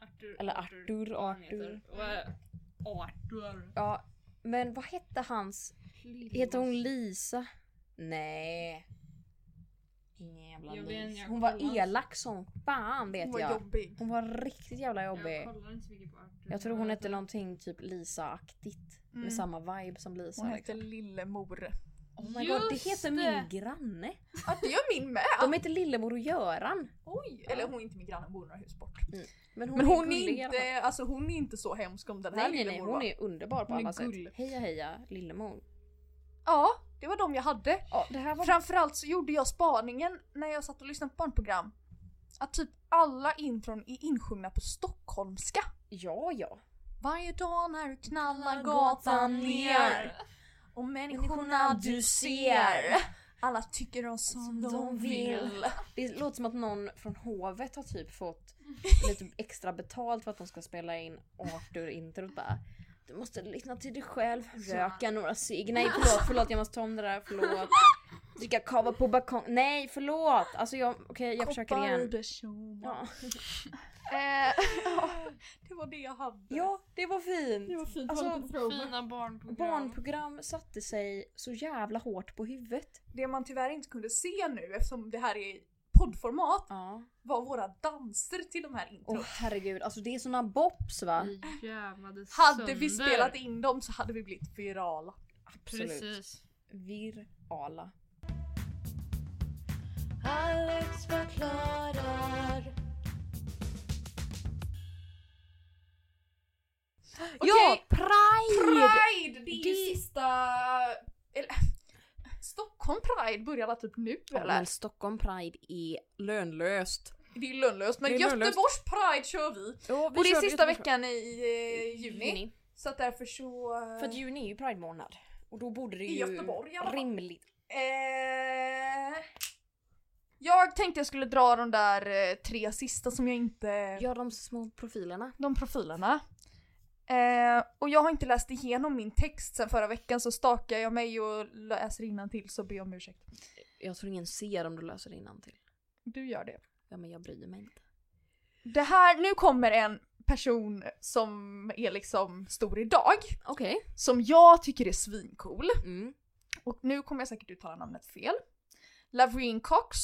Speaker 5: Arthur.
Speaker 1: Eller Arthur,
Speaker 5: vad han
Speaker 1: Arthur.
Speaker 5: heter. Och, eh, Arthur.
Speaker 1: Ja, men vad hette hans? Heter hon Lisa? Nej. Ingen jävla
Speaker 5: Jag vet,
Speaker 1: Lisa.
Speaker 5: jag
Speaker 1: Hon var
Speaker 5: kollar.
Speaker 1: elak som fan vet
Speaker 2: Hon var
Speaker 1: jag.
Speaker 2: jobbig.
Speaker 1: Hon var riktigt jävla jobbig.
Speaker 5: Jag kollar inte så mycket på Arthur.
Speaker 1: Jag tror hon
Speaker 5: Men
Speaker 1: hette
Speaker 5: alltså,
Speaker 1: någonting typ Lisa-aktigt.
Speaker 2: Mm.
Speaker 1: Med samma vibe som Lisa.
Speaker 2: Hon hette
Speaker 1: liksom.
Speaker 2: Lillemor.
Speaker 1: Oh my god, det
Speaker 5: Just
Speaker 1: heter min granne.
Speaker 2: Ja, det gör min med.
Speaker 1: De heter Lillemor och Göran.
Speaker 2: Oj, eller hon är inte min granne, hon bor några hus bort.
Speaker 1: Men hon,
Speaker 2: Men hon är,
Speaker 1: gullig i alla fall.
Speaker 2: inte, alltså, hon är inte så hemsk om den här
Speaker 1: Nej nej nej,
Speaker 2: Lillemor
Speaker 1: hon
Speaker 2: var.
Speaker 1: är underbar på
Speaker 2: Hon är
Speaker 1: alla sätt.
Speaker 2: gull.
Speaker 1: Heja heja Lillemor.
Speaker 2: Ja, Det var de jag hade.
Speaker 1: Ja, det här var...
Speaker 2: Framförallt så gjorde jag spaningen när jag satt och lyssnade på barnprogram. Att typ alla intron är insjungna på stockholmska.
Speaker 1: Ja, ja.
Speaker 2: Varje dag när du knallar gatan ner och människorna du ser alla tycker de som de vill.
Speaker 1: Det låter som att någon från hovet har typ fått lite extra betalt för att de ska spela in Arthur-introt bara. Du måste lyssna till dig själv, röka några cigg. Nej förlåt, förlåt jag måste ta om det där, förlåt. Dricka kava på balkongen. Nej förlåt! Alltså jag, okej jag försöker
Speaker 2: Koppar i
Speaker 1: igen.
Speaker 2: det tjoman.
Speaker 1: Ja.
Speaker 2: Eh, ja, det var det jag hade.
Speaker 1: ja, det var
Speaker 8: Det
Speaker 1: fint.
Speaker 8: var fint.
Speaker 1: Alltså,
Speaker 8: Alltså,
Speaker 5: Fina barnprogram.
Speaker 1: Barnprogram satte sig så jävla hårt på huvudet.
Speaker 2: Det man tyvärr inte kunde se nu eftersom det här är poddformat
Speaker 1: Ja.
Speaker 2: var våra danser till de här intron.
Speaker 1: Åh herregud, alltså det är såna bops va?
Speaker 5: Vi jävlades
Speaker 2: hade
Speaker 5: sönder.
Speaker 2: vi spelat in dem så hade vi blivit virala.
Speaker 1: Absolut.
Speaker 5: Precis.
Speaker 1: Virala.
Speaker 3: Alex förklarar.
Speaker 1: Ja! Pride!
Speaker 2: Pride! Det är ju
Speaker 1: Det-
Speaker 2: sista... Eller, Stockholm Pride börjar väl typ nu
Speaker 1: Ja,
Speaker 2: eller?
Speaker 1: men Stockholm Pride är lönlöst.
Speaker 2: Det är ju lönlöst men
Speaker 1: Det är lönlöst.
Speaker 2: Göteborgs Pride kör vi! Och det är sista veckan i eh, juni. Så att därför så... eh,
Speaker 1: För att juni är ju Pride månad. Och då borde det
Speaker 2: I
Speaker 1: ju...
Speaker 2: Göteborg i alla fall.
Speaker 1: Rimligt.
Speaker 2: Eh, jag tänkte jag skulle dra de där eh, tre sista som jag inte...
Speaker 1: Ja, de små profilerna.
Speaker 2: De profilerna. Eh, och jag har inte läst igenom min text sen förra veckan så stakar jag mig och läser till så ber jag om ursäkt.
Speaker 1: Jag tror ingen ser om du löser det till.
Speaker 2: Du gör det.
Speaker 1: Ja, men jag bryr mig inte.
Speaker 2: Det här, nu kommer en person som är liksom stor idag.
Speaker 1: Okej.
Speaker 2: Som jag tycker är svincool.
Speaker 1: Mm.
Speaker 2: Och nu kommer jag säkert uttala namnet fel. Lavreen Cox.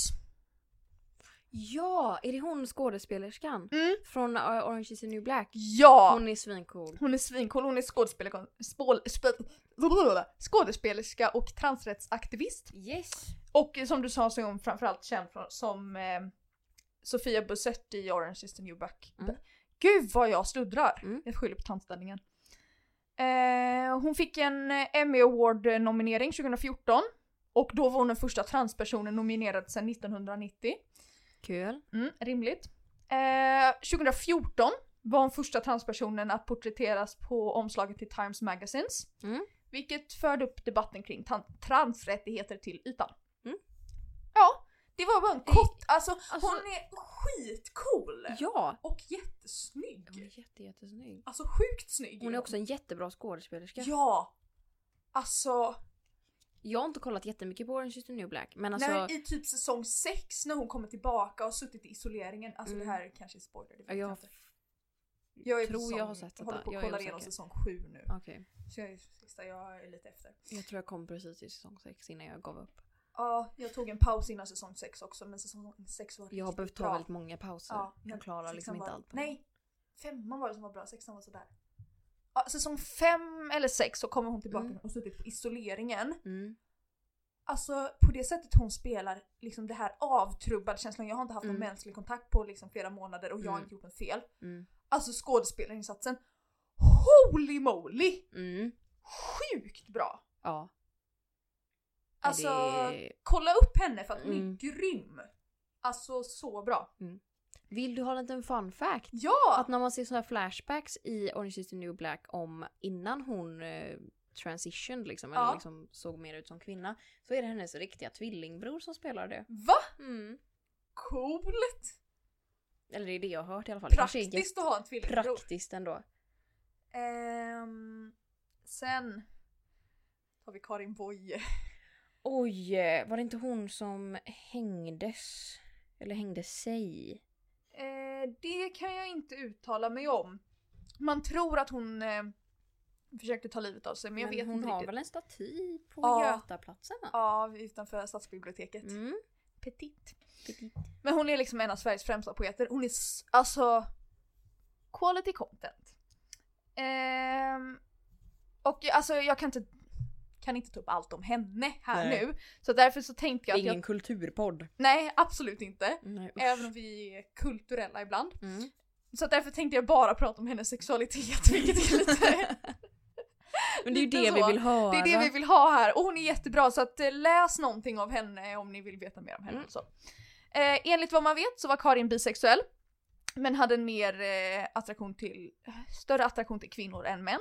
Speaker 1: Ja, är det hon skådespelerskan?
Speaker 2: Mm.
Speaker 1: Från uh, Orange is the new black?
Speaker 2: Ja!
Speaker 1: Hon är svincool.
Speaker 2: Hon är svincool, hon är skådespelerska, spål, sp- [LAUGHS] blablabla, skådespelerska och transrättsaktivist.
Speaker 1: Yes!
Speaker 2: Och eh, som du sa så är hon framförallt känd från, som eh, Sofia Bussett i Orange is the new black.
Speaker 1: Mm.
Speaker 2: Gud vad jag sluddrar!
Speaker 1: Mm.
Speaker 2: Jag skyller på tandställningen. Eh, hon fick en eh, Emmy Award-nominering 2014. Och då var hon den första transpersonen nominerad sedan 1990.
Speaker 1: Kul.
Speaker 2: Mm, rimligt. Eh, 2014 var hon första transpersonen att porträtteras på omslaget till Times Magazines.
Speaker 1: Mm.
Speaker 2: Vilket förde upp debatten kring tan- transrättigheter till ytan.
Speaker 1: Mm.
Speaker 2: Ja, det var bara en kort... Alltså,
Speaker 1: Alltså-
Speaker 2: hon är skitcool!
Speaker 1: Ja!
Speaker 2: Och jättesnygg!
Speaker 1: Hon är jätte, jättesnygg.
Speaker 2: Alltså sjukt snygg!
Speaker 1: Hon är också en jättebra skådespelerska.
Speaker 2: Ja! Alltså,
Speaker 1: Jag har inte kollat jättemycket på Orange is the new black, men alltså...
Speaker 2: när, i typ säsong 6 när hon kommer tillbaka och har suttit i isoleringen. Alltså
Speaker 1: Mm.
Speaker 2: det här kanske är spoiler, det
Speaker 1: Ja,
Speaker 2: vet
Speaker 1: jag
Speaker 2: jag inte. Jag är på
Speaker 1: tror jag
Speaker 2: säsong-
Speaker 1: har sett
Speaker 2: håller
Speaker 1: detta.
Speaker 2: på
Speaker 1: Jag
Speaker 2: att
Speaker 1: är
Speaker 2: kolla igenom
Speaker 1: osäker.
Speaker 2: säsong 7 nu.
Speaker 1: Okej.
Speaker 2: Så jag är sista, jag är lite efter.
Speaker 1: Jag tror jag kom precis till säsong 6 innan jag gav upp.
Speaker 2: Ja, jag tog en paus innan säsong 6 också men säsong 6 var
Speaker 1: Jag har
Speaker 2: riktigt
Speaker 1: behövt ta
Speaker 2: Typ bra.
Speaker 1: väldigt många pauser.
Speaker 2: men
Speaker 1: jag klarar
Speaker 2: sexan
Speaker 1: liksom inte
Speaker 2: var,
Speaker 1: allt. på en gång.
Speaker 2: Nej! Femman var det som var bra, sexan var sådär. Ja, säsong 5 eller 6 så kommer hon tillbaka
Speaker 1: Mm.
Speaker 2: och suttit på isoleringen.
Speaker 1: Mm.
Speaker 2: Alltså på det sättet hon spelar liksom det här avtrubbade känslan. Jag har inte haft någon
Speaker 1: Mm.
Speaker 2: mänsklig kontakt på liksom flera månader och jag har
Speaker 1: Mm.
Speaker 2: inte gjort något fel.
Speaker 1: Mm.
Speaker 2: Alltså skådespelarinsatsen. Holy moly!
Speaker 1: Mm.
Speaker 2: Sjukt bra!
Speaker 1: Ja. Ja,
Speaker 2: Alltså
Speaker 1: det-
Speaker 2: kolla upp henne för att hon
Speaker 1: Mm.
Speaker 2: är grym! Alltså så bra.
Speaker 1: Vill du ha en liten fun fact?
Speaker 2: Ja!
Speaker 1: Att när man ser såna här flashbacks i Orange is the new black om innan hon eh, transitioned liksom, eller
Speaker 2: Ja.
Speaker 1: liksom såg mer ut som kvinna. Så är det hennes riktiga tvillingbror som spelar det.
Speaker 2: Va?
Speaker 1: Mm.
Speaker 2: Coolt!
Speaker 1: Eller det är det jag har hört i alla fall. Det kanske är
Speaker 2: Praktiskt att ha en tvillingbror.
Speaker 1: Praktiskt ändå.
Speaker 2: Ehm, sen har vi Karin Boye.
Speaker 1: Oj, eh, var det inte hon som hängdes? Eller hängde sig?
Speaker 2: Eh, det kan jag inte uttala mig om. Man tror att hon eh, försökte ta livet av sig men jag vet
Speaker 1: hon
Speaker 2: inte
Speaker 1: har
Speaker 2: riktigt.
Speaker 1: väl en staty på
Speaker 2: Ja.
Speaker 1: Götaplatsen va?
Speaker 2: Ja, utanför stadsbiblioteket.
Speaker 1: Mm.
Speaker 2: Petit.
Speaker 1: Petit.
Speaker 2: Men hon är liksom en av Sveriges främsta poeter. Hon är s- alltså quality content. Ehm, och alltså jag kan inte, kan inte ta upp allt om henne här
Speaker 1: Nej.
Speaker 2: nu. Så därför så tänkte jag att
Speaker 1: Ingen
Speaker 2: jag, Eh,
Speaker 1: kulturpodd.
Speaker 2: nej absolut inte.
Speaker 1: Nej, usch.
Speaker 2: Även om vi är kulturella ibland.
Speaker 1: Mm.
Speaker 2: [LAUGHS] Så att därför tänkte jag bara prata om hennes sexualitet vilket är lite
Speaker 1: Men det är ju
Speaker 2: Lite
Speaker 1: det vi
Speaker 2: så.
Speaker 1: vill höra.
Speaker 2: Det är det vi vill ha här och hon är jättebra så att eh, läs någonting av henne om ni vill veta mer om henne.
Speaker 1: Mm.
Speaker 2: Så. Eh, enligt vad man vet så var Karin bisexuell men hade en mer eh, attraktion till, eh, större attraktion till kvinnor än män.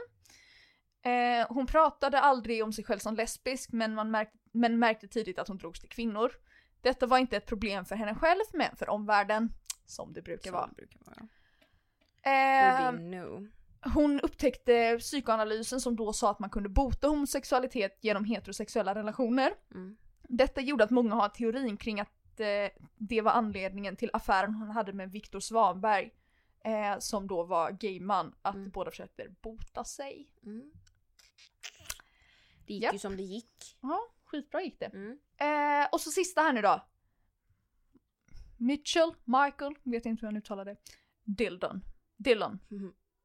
Speaker 2: Eh, hon pratade aldrig om sig själv som lesbisk men, man märkte, men märkte tidigt att hon drogs till kvinnor. Detta var inte ett problem för henne själv men för omvärlden, som det brukar vara.
Speaker 1: Som brukar vara.
Speaker 2: Eh,
Speaker 1: We know.
Speaker 2: hon upptäckte psykoanalysen som då sa att man kunde bota homosexualitet genom heterosexuella relationer.
Speaker 1: Mm.
Speaker 2: Detta gjorde att många har teorin kring att eh, det var anledningen till affären hon hade med Viktor Svanberg, eh, som då var gayman, att
Speaker 1: Mm.
Speaker 2: båda försökte bota sig.
Speaker 1: Mm. Det gick
Speaker 2: Japp.
Speaker 1: ju som det gick.
Speaker 2: Ja, skitbra gick det.
Speaker 1: Mm.
Speaker 2: Eh, och så sista här nu då. Mitchell, Michael, vet inte hur han uttalade. Dildon. Dillon.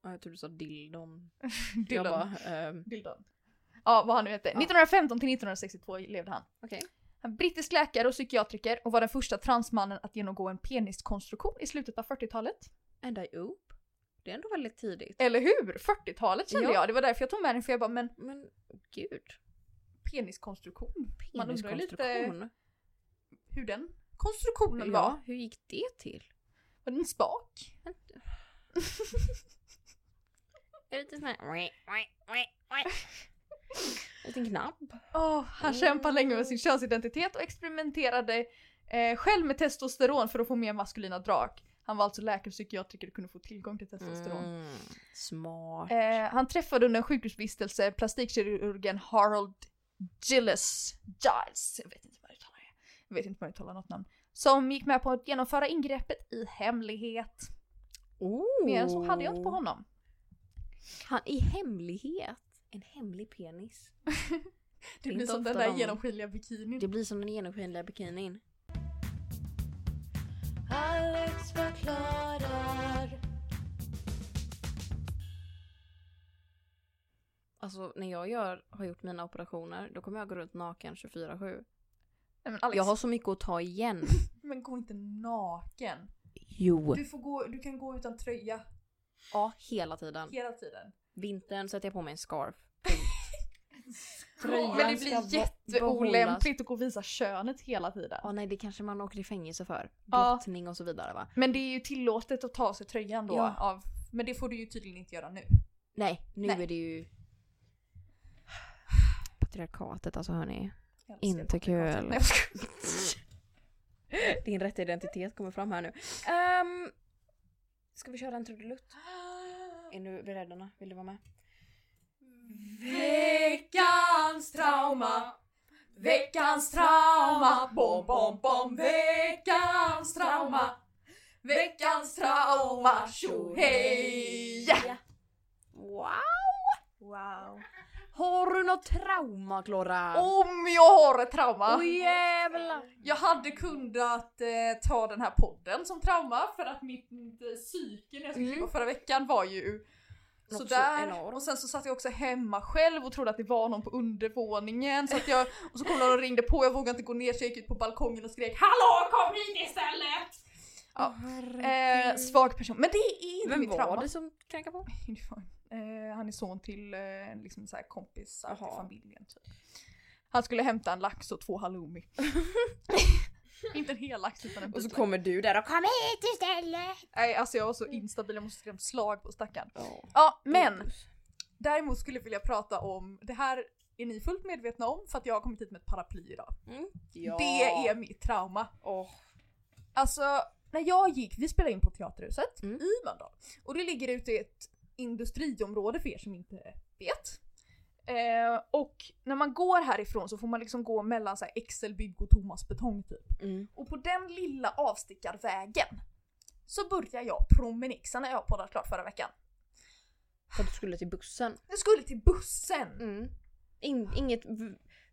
Speaker 1: Ja, Jag trodde du sa dildon. Jag
Speaker 2: Dillon.
Speaker 1: bara, ehm,
Speaker 2: Dildon. Ja, vad han nu hette. 1915 till 1962 levde han.
Speaker 1: okej.
Speaker 2: Han är brittisk läkare och psykiatriker och var den första transmannen att genomgå en peniskonstruktion i slutet av 40-talet.
Speaker 1: And I oop. Det är ändå väldigt tidigt.
Speaker 2: Eller hur? 40-talet kände
Speaker 1: Ja.
Speaker 2: jag. Det var därför jag tog med den för jag bara, men
Speaker 1: Men gud.
Speaker 2: peniskonstruktion? Man undrar ju lite-
Speaker 1: Peniskonstruktion.
Speaker 2: Hur den konstruktionen var?
Speaker 1: Ja, hur gick det till?
Speaker 2: Var det en spak?
Speaker 1: Är det lite sån här... [LAUGHS] Liten knapp.
Speaker 2: Åh, han kämpade länge
Speaker 1: Mm.
Speaker 2: med sin könsidentitet och experimenterade eh, själv med testosteron för att få mer maskulina drag. Han var alltså läkare och psykiatriker och kunde få tillgång till testosteron.
Speaker 1: Mm. Smart.
Speaker 2: Eh, han träffade under en sjukhusvistelse plastikkirurgen Harold Gilles. Giles. Jag vet inte vad jag uttalar det. Jag vet inte vad jag uttalar något namn. Som gick med på att genomföra ingreppet i hemlighet.
Speaker 1: Oh.
Speaker 2: Mer än så hade jag inte på honom.
Speaker 1: Han i hemlighet. En hemlig penis.
Speaker 2: Det, blir
Speaker 1: är inte
Speaker 2: som den
Speaker 1: ofta
Speaker 2: där
Speaker 1: de-
Speaker 2: genomskinliga bikinin.
Speaker 1: Det blir som den genomskinliga bikinin.
Speaker 3: Alex förklarar.
Speaker 1: Alltså när jag gör, har gjort mina operationer då kommer jag gå runt naken 24-7.
Speaker 2: Nej, men Alex,
Speaker 1: Jag har så mycket att ta igen.
Speaker 2: men gå inte naken.
Speaker 1: [LAUGHS] Jo.
Speaker 2: Du, får gå, du kan gå utan tröja
Speaker 1: Ja, hela tiden.
Speaker 2: hela tiden.
Speaker 1: Vintern sätter jag på mig en scarf.
Speaker 2: Men det blir jätteolämpligt att gå och visa könet hela tiden.
Speaker 1: Ja, nej det kanske man åker i fängelse för.
Speaker 2: Ja.
Speaker 1: Blottning och så vidare va?
Speaker 2: Men det är ju tillåtet att ta av sig tröjan då.
Speaker 1: Ja.
Speaker 2: Av, men det får du ju tydligen inte göra nu.
Speaker 1: Nej, nu
Speaker 2: Nej.
Speaker 1: är det ju... [SIGHS] Patriarkatet alltså hörni.
Speaker 2: Jag älskar
Speaker 1: Inte
Speaker 2: patriarkatet.
Speaker 1: kul.
Speaker 2: Nej, jag skojar.
Speaker 1: [LAUGHS] Din rätta identitet kommer fram här nu. Um, ska vi köra en trudelutt? [GASPS] Är du beredda? Vill du vara med?
Speaker 8: Veckans trauma. Veckans trauma. Bom, bom, bom. Veckans trauma. Veckans trauma. Tjo hej!
Speaker 1: Wow! Wow. Har du något trauma Klara?
Speaker 2: Om jag har ett trauma!
Speaker 1: Åh, jävlar!
Speaker 2: Jag hade kunnat eh, ta den här podden som trauma för att mitt, mitt eh, psyke när jag skulle
Speaker 1: Mm.
Speaker 2: klippa förra veckan var ju
Speaker 1: Något så
Speaker 2: sådär.
Speaker 1: enormt.
Speaker 2: och sen så satt jag också hemma själv och trodde att det var någon på undervåningen. Så att jag, och så kom någon och ringde på, jag vågade inte gå ner så jag gick ut på balkongen och skrek Hallå kom hit istället! Ja. Eh, svag person, men det är inte
Speaker 1: Vem
Speaker 2: mitt
Speaker 1: var
Speaker 2: trauma.
Speaker 1: det som knackade på?
Speaker 2: Det var- Eh, han är son till eh, liksom så här kompisar till
Speaker 1: Jaha.
Speaker 2: familjen typ. Han skulle hämta en lax och två
Speaker 1: [LAUGHS]
Speaker 2: halloumi. Inte en hel lax utan en
Speaker 1: Och så
Speaker 2: bit lax.
Speaker 1: kommer du där och kom hit!
Speaker 2: Nej alltså jag var så instabil, jag måste skrämt slag på stackaren. Ja men däremot skulle jag vilja prata om, det här är ni fullt medvetna om för att jag har kommit hit med ett paraply idag.
Speaker 1: Ja.
Speaker 2: Det är mitt trauma. Alltså, när jag gick, vi spelade in på Teaterhuset
Speaker 1: Mm.
Speaker 2: i Mölndal. Och det ligger ute i ett industriområde för er som inte vet. Eh, och när man går härifrån så får man liksom gå mellan så här Excelbygg och Thomas Betong typ.
Speaker 1: Mm.
Speaker 2: Och på den lilla avstickarvägen så börjar jag promenixa när jag poddat klart förra veckan.
Speaker 1: För att du skulle till bussen.
Speaker 2: Jag skulle till bussen!
Speaker 1: Mm. In, inget...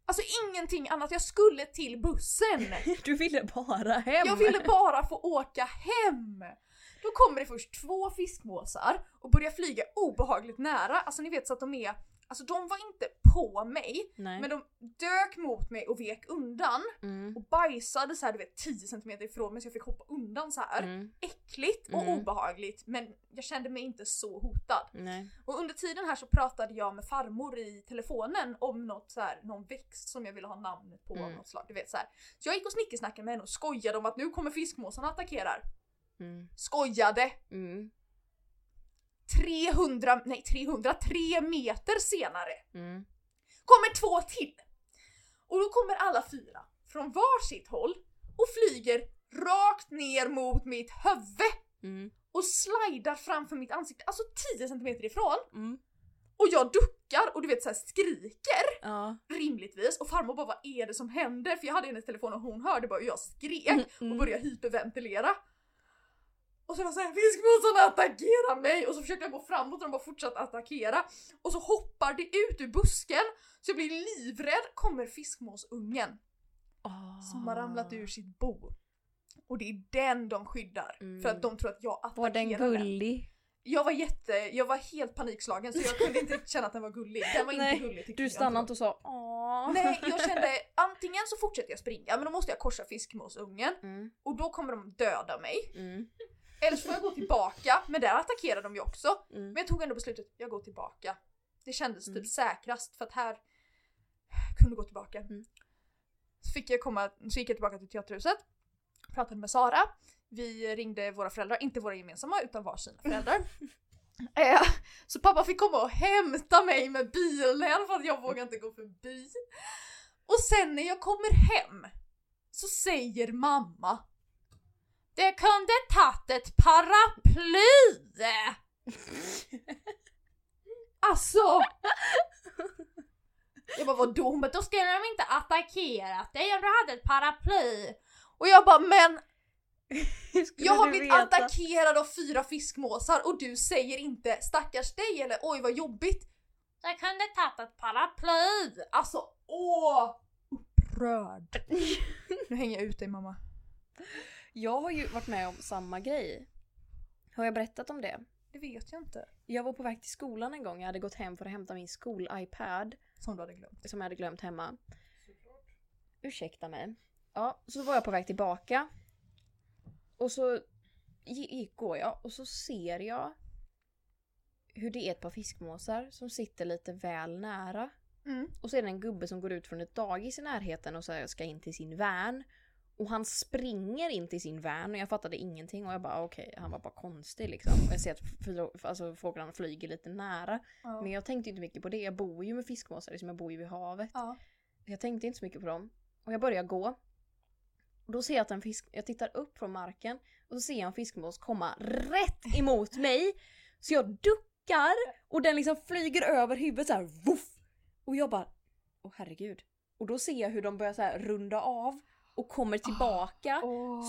Speaker 2: Alltså ingenting annat, jag skulle till bussen!
Speaker 1: [LAUGHS] Du ville bara hem.
Speaker 2: Jag ville bara få åka hem! Då kommer det först två fiskmåsar och börjar flyga obehagligt nära, alltså ni vet så att de är, alltså de var inte på mig.
Speaker 1: Nej.
Speaker 2: Men de dök mot mig och vek undan
Speaker 1: Mm.
Speaker 2: och bajsade så här, du vet 10 cm ifrån mig så jag fick hoppa undan så här.
Speaker 1: Mm.
Speaker 2: Äckligt och
Speaker 1: Mm.
Speaker 2: obehagligt men jag kände mig inte så hotad.
Speaker 1: Nej.
Speaker 2: Och under tiden här så pratade jag med farmor i telefonen om något så här, någon växt som jag ville ha namnet på av
Speaker 1: Mm.
Speaker 2: något slag. Du vet, så, här. så jag gick och snickesnackade med henne och skojade om att nu kommer fiskmåsarna attackerar.
Speaker 1: Mm.
Speaker 2: Skojade!
Speaker 1: Mm.
Speaker 2: 300, nej 303 meter senare
Speaker 1: Mm.
Speaker 2: kommer två till. Och då kommer alla fyra från varsitt håll och flyger rakt ner mot mitt huvud
Speaker 1: Mm.
Speaker 2: och slidar framför mitt ansikte, alltså 10 cm ifrån.
Speaker 1: Mm.
Speaker 2: Och jag duckar och du vet så här skriker
Speaker 1: Ja.
Speaker 2: rimligtvis och farmor bara vad är det som händer? För jag hade hennes telefon och hon hörde bara hur jag skrek
Speaker 1: Mm,
Speaker 2: och började hyperventilera. Och så var jag såhär fiskmåsarna attackerar mig och så försökte jag gå framåt och de bara fortsatte attackera. Och så hoppar det ut ur busken så jag blir livrädd kommer fiskmåsungen
Speaker 1: Ah.
Speaker 2: som har ramlat ur sitt bo. Och det är den de skyddar
Speaker 1: Mm.
Speaker 2: för att de tror att jag attackerar
Speaker 1: Var den gullig?
Speaker 2: Jag var jätte, jag var helt panikslagen så jag kunde inte känna att den var gullig. Den var
Speaker 1: Nej,
Speaker 2: inte gullig tyckte
Speaker 1: Du
Speaker 2: jag
Speaker 1: stannade
Speaker 2: då.
Speaker 1: inte och sa åh.
Speaker 2: Nej, jag kände antingen så fortsätter jag springa men då måste jag korsa fiskmåsungen
Speaker 1: Mm.
Speaker 2: och då kommer de döda mig.
Speaker 1: Mm.
Speaker 2: Eller så får jag gå tillbaka, men där attackerar de ju också.
Speaker 1: Mm. [LAUGHS]
Speaker 2: Men jag tog ändå beslutet, jag går tillbaka. Det kändes
Speaker 1: Mm.
Speaker 2: typ säkrast för att här kunde gå tillbaka.
Speaker 1: Mm.
Speaker 2: Så, fick jag komma, så gick jag tillbaka till teaterhuset, pratade med Sara. Vi ringde våra föräldrar, inte våra gemensamma utan varsina
Speaker 1: [LAUGHS]
Speaker 2: föräldrar. eh, så pappa fick komma och hämta mig med bilen för att jag vågade inte gå förbi. Och sen när jag kommer hem så säger mamma Det kunde tagit ett paraply! Alltså! Jag bara vadå? Hon bara då skulle de inte attackerat dig om du hade ett paraply. Och jag bara men jag har blivit attackerad av fyra fiskmåsar och du säger inte stackars dig eller oj vad jobbigt. Jag kunde tagit ett paraply. Alltså åh! Upprörd. nu hänger jag ut dig mamma.
Speaker 1: Jag har ju varit med om samma grej. Har jag berättat om det?
Speaker 2: Det vet jag inte.
Speaker 1: Jag var på väg till skolan en gång. Jag hade gått hem för att hämta min skol-iPad
Speaker 2: Som du hade glömt.
Speaker 1: som jag hade glömt hemma. Ursäkta mig. Ja, så var jag på väg tillbaka. Och så gi- gick, går jag och så ser jag hur det är ett par fiskmåsar som sitter lite väl nära.
Speaker 2: Mm.
Speaker 1: Och så är det en gubbe som går ut från ett dagis i närheten och så här ska in till sin vän. Och han springer in till sin vän och jag fattade ingenting och jag bara okej, han var bara konstig liksom. Och jag ser att fl- alltså, fåglarna flyger lite nära.
Speaker 2: Ja.
Speaker 1: Men jag tänkte inte mycket på det. Jag bor ju med fiskmåsar, liksom jag bor ju vid havet.
Speaker 2: Ja.
Speaker 1: Jag tänkte inte så mycket på dem. Och jag börjar gå. Och då ser jag att en fisk, jag tittar upp från marken och så ser jag en fiskmås komma rätt emot mig. Så jag duckar och den liksom flyger över huvudet så här, voff! Och jag bara, åh herregud. Och då ser jag hur de börjar så här runda av och kommer tillbaka.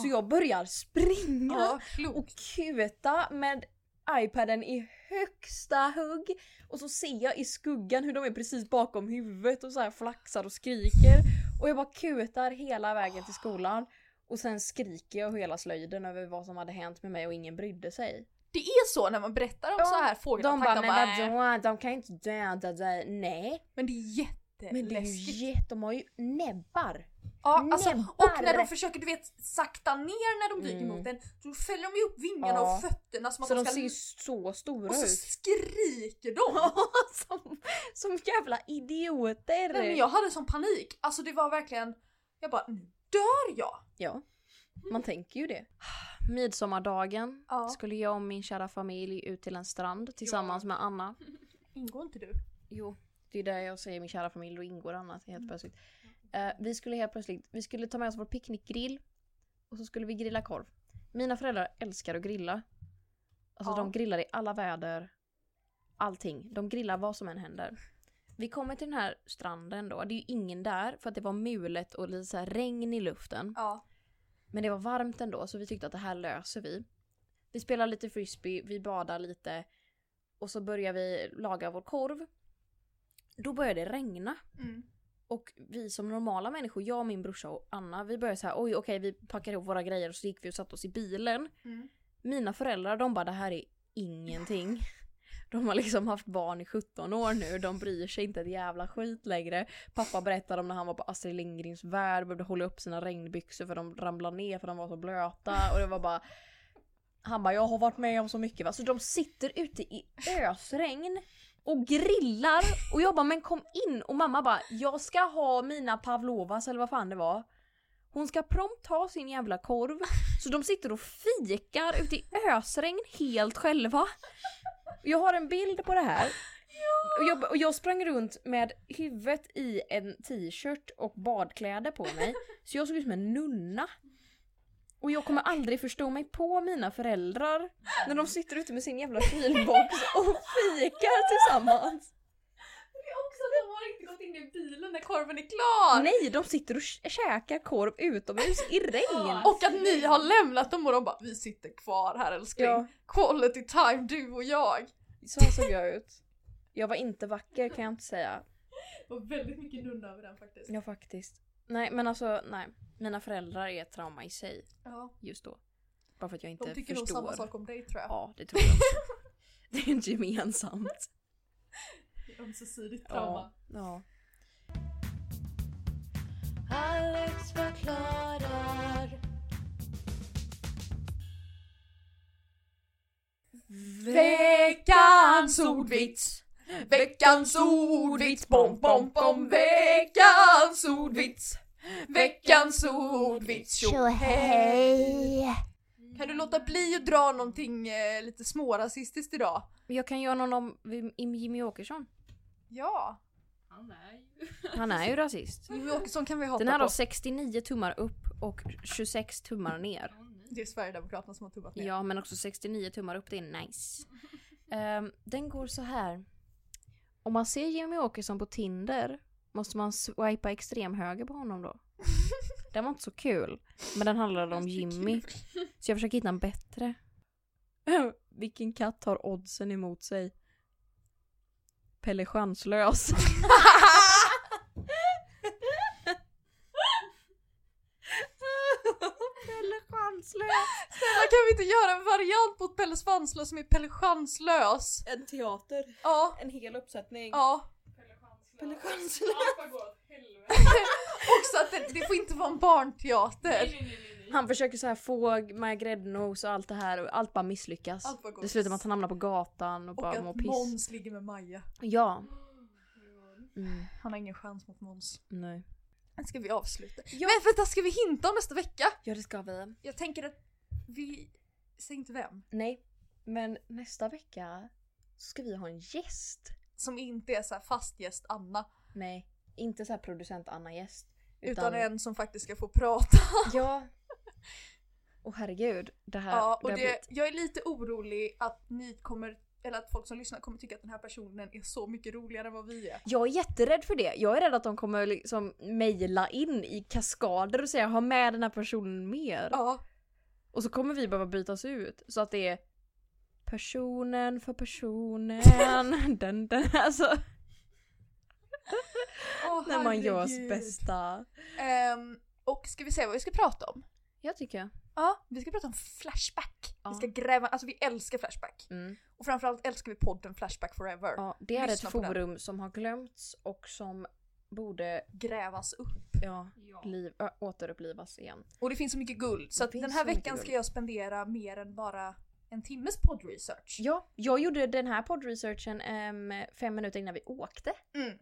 Speaker 1: Så jag börjar springa
Speaker 2: Ah. Ja,
Speaker 1: och
Speaker 2: klokt.
Speaker 1: kuta med iPaden i högsta hugg och så ser jag i skuggan hur de är precis bakom huvudet och så här flaxar och skriker och jag bara kutar hela vägen till skolan och sen skriker jag hela slöjden över vad som hade hänt med mig och ingen brydde sig.
Speaker 2: Det är så när man berättar om
Speaker 1: Ja,
Speaker 2: så här
Speaker 1: De
Speaker 2: fågelattack,
Speaker 1: bara
Speaker 2: de
Speaker 1: men
Speaker 2: bara, "Äh."
Speaker 1: vadå, de kan ju inte döda dig. Nej,
Speaker 2: men det är jätteläskigt.
Speaker 1: men det är ju jätte, de har ju näbbar.
Speaker 2: ja, alltså,
Speaker 1: näbbar.
Speaker 2: och när de försöker du vet sakta ner när de flyger
Speaker 1: Mm.
Speaker 2: mot den, då fäller de ju upp vingarna
Speaker 1: Ja.
Speaker 2: och fötterna som att
Speaker 1: Så
Speaker 2: de
Speaker 1: de
Speaker 2: ska...
Speaker 1: ser ju så stora
Speaker 2: och så
Speaker 1: ut.
Speaker 2: skriker de!
Speaker 1: [LAUGHS] Ja, som, som jävla idioter!
Speaker 2: Nej, men jag hade sån panik, alltså det var verkligen... Jag bara, nu dör jag!
Speaker 1: Ja, man tänker ju det. Mm. Midsommardagen
Speaker 2: Ja.
Speaker 1: skulle jag och min kära familj ut till en strand tillsammans med [LAUGHS] Anna.
Speaker 2: Ingår inte du?
Speaker 1: Jo, det är där jag säger min kära familj, då ingår Anna helt plötsligt. Eh, vi skulle helt plötsligt, vi skulle ta med oss vår picknickgrill och så skulle vi grilla korv. Mina föräldrar älskar att grilla. Alltså
Speaker 2: Ja.
Speaker 1: de grillar i alla väder. Allting. De grillar vad som än händer. Vi kommer till den här stranden då. Det är ju ingen där för att det var mulet och lite så här regn i luften.
Speaker 2: Ja.
Speaker 1: Men det var varmt ändå så vi tyckte att det här löser vi. Vi spelar lite frisbee, vi badar lite och så börjar vi laga vår korv. Då börjar det regna.
Speaker 2: Mm.
Speaker 1: Och vi som normala människor, jag, min brorsa och Anna, vi började så här, oj okej vi packar ihop våra grejer och så gick vi och satte oss i bilen.
Speaker 2: Mm.
Speaker 1: Mina föräldrar de bara det här är ingenting. [LAUGHS] De har liksom haft barn i 17 år nu, de bryr sig inte ett jävla skit längre. Pappa berättade om när han var på Astrid Lindgrens värld, behövde hålla upp sina regnbyxor för de ramlade ner för de var så blöta. Och det var bara... Han bara, jag har varit med om så mycket va. Så de sitter ute i ösregn och grillar och jag bara, men kom in! Och mamma bara, jag ska ha mina pavlovas eller vad fan det var. Hon ska prompt ha sin jävla korv. Så de sitter och fikar ute i ösregn helt själva. Jag har en bild på det här. Och, jag, och jag sprang runt med huvudet i en t-shirt och badkläder på mig. Så jag såg ut som en nunna. Och jag kommer aldrig förstå mig på mina föräldrar när de sitter ute med sin jävla kylbox och fikar tillsammans.
Speaker 2: Också de har inte gått in i bilen när korven är klar!
Speaker 1: Nej, de sitter och kä- käkar korv utomhus i regn.
Speaker 2: Och att ni har lämnat dem och de bara vi sitter kvar här älskling.
Speaker 1: Ja.
Speaker 2: Quality time du och jag.
Speaker 1: Så här såg jag ut. Jag var inte vacker kan jag inte säga.
Speaker 2: Det var väldigt mycket nunna över den faktiskt.
Speaker 1: Ja faktiskt. Nej men alltså nej. Mina föräldrar är ett trauma i sig
Speaker 2: Ja.
Speaker 1: just då. Bara för att jag inte
Speaker 2: De tycker nog
Speaker 1: förstår.
Speaker 2: samma sak om dig tror jag.
Speaker 1: Ja det tror jag också. [LAUGHS] Det är inte gemensamt.
Speaker 2: Ömsesidigt trauma.
Speaker 1: Ja. ja.
Speaker 3: Alex förklarar.
Speaker 2: Veckans ordvits! Veckans ordvits! Bom, bom, bom! Veckans ordvits! Veckans ordvits! Tjo hej! Kan du låta bli att dra någonting eh, lite smårasistiskt idag?
Speaker 1: Men Jag kan göra någon om Vim- Im- Jimmy Åkesson.
Speaker 2: Ja!
Speaker 5: Han är ju...
Speaker 1: Han är ju rasist.
Speaker 2: Jimmie Åkesson kan vi hata
Speaker 1: Den här
Speaker 2: på.
Speaker 1: har 69 tummar upp och 26 tummar ner.
Speaker 2: Det är Sverigedemokraterna som har tubbat ner.
Speaker 1: Ja, men också 69 tummar upp, det är [LAUGHS] nice. Ehm, den går så här. Om man ser Jimmy Åkesson på Tinder, måste man swipa extremhöger på honom [LAUGHS] då? Den var inte så kul, men den handlade om Jimmy. Så jag försöker hitta en bättre. [LAUGHS] Vilken katt har oddsen emot sig? Pelle [LAUGHS] Chanslös. Pelle Chanslös.
Speaker 2: Snälla kan vi inte göra en variant mot Pelle Svanslös som är Pelle Chanslös?
Speaker 1: En teater.
Speaker 2: Ja,
Speaker 1: En hel uppsättning.
Speaker 2: ja.
Speaker 1: Pelle Chanslös.
Speaker 5: Allt går åt helvete.
Speaker 2: [LAUGHS] Också att det, det får inte vara en barnteater.
Speaker 5: Nej, nej, nej, [GASPS] nej.
Speaker 1: Han försöker så här få Maja Gräddnos och allt det här och allt bara misslyckas.
Speaker 2: Allt bara går
Speaker 1: det slutar med att han hamnar på gatan och,
Speaker 2: Och
Speaker 1: bara mår
Speaker 2: att
Speaker 1: piss.
Speaker 2: Måns ligger med Maja.
Speaker 1: Ja. Mm,
Speaker 2: Han har ingen chans mot Måns.
Speaker 1: nej.
Speaker 2: Ska vi avsluta? Men vänta, ska vi hinta om nästa vecka?
Speaker 1: Ja det ska vi.
Speaker 2: Jag tänker att vi... Säg inte vem.
Speaker 1: Nej. Men nästa vecka så ska vi ha en gäst.
Speaker 2: Som inte är så här fast gäst Anna.
Speaker 1: Nej. Inte så här producent Anna-gäst.
Speaker 2: Utan, en som faktiskt ska få prata.
Speaker 1: [LAUGHS] Ja. Och herregud. Det här.
Speaker 2: Ja, och
Speaker 1: det har
Speaker 2: det,
Speaker 1: blivit-
Speaker 2: jag är lite orolig att ni kommer... Eller att folk som lyssnar kommer tycka att den här personen är så mycket roligare än vad vi är.
Speaker 1: Jag är jätterädd för det. Jag är rädd att de kommer liksom mejla in i kaskader och säga ha med den här personen mer.
Speaker 2: Ja,
Speaker 1: Och så kommer vi behöva bytas ut så att det är personen för personen. [LAUGHS] den, den, alltså
Speaker 2: Åh,
Speaker 1: när man gör
Speaker 2: herregud.
Speaker 1: sitt bästa.
Speaker 2: Ehm, och ska vi säga vad vi ska prata om?
Speaker 1: Jag tycker.
Speaker 2: Ja, vi ska prata om Flashback.
Speaker 1: Ja.
Speaker 2: Vi ska gräva, alltså vi älskar Flashback.
Speaker 1: Mm.
Speaker 2: Och framförallt älskar vi podden Flashback Forever.
Speaker 1: Ja, det är
Speaker 2: Lyssna
Speaker 1: ett
Speaker 2: på den.
Speaker 1: forum som har glömts och som borde
Speaker 2: Grävas upp.
Speaker 1: ja,
Speaker 5: Ja.
Speaker 1: liv, ö, återupplivas igen.
Speaker 2: Och det finns så mycket guld så
Speaker 1: Det
Speaker 2: att
Speaker 1: finns
Speaker 2: den här
Speaker 1: så mycket
Speaker 2: veckan ska
Speaker 1: guld.
Speaker 2: jag spendera mer än bara en timmes poddresearch.
Speaker 1: Ja, jag gjorde den här poddresearchen ehm, fem minuter innan vi åkte.
Speaker 2: Mm.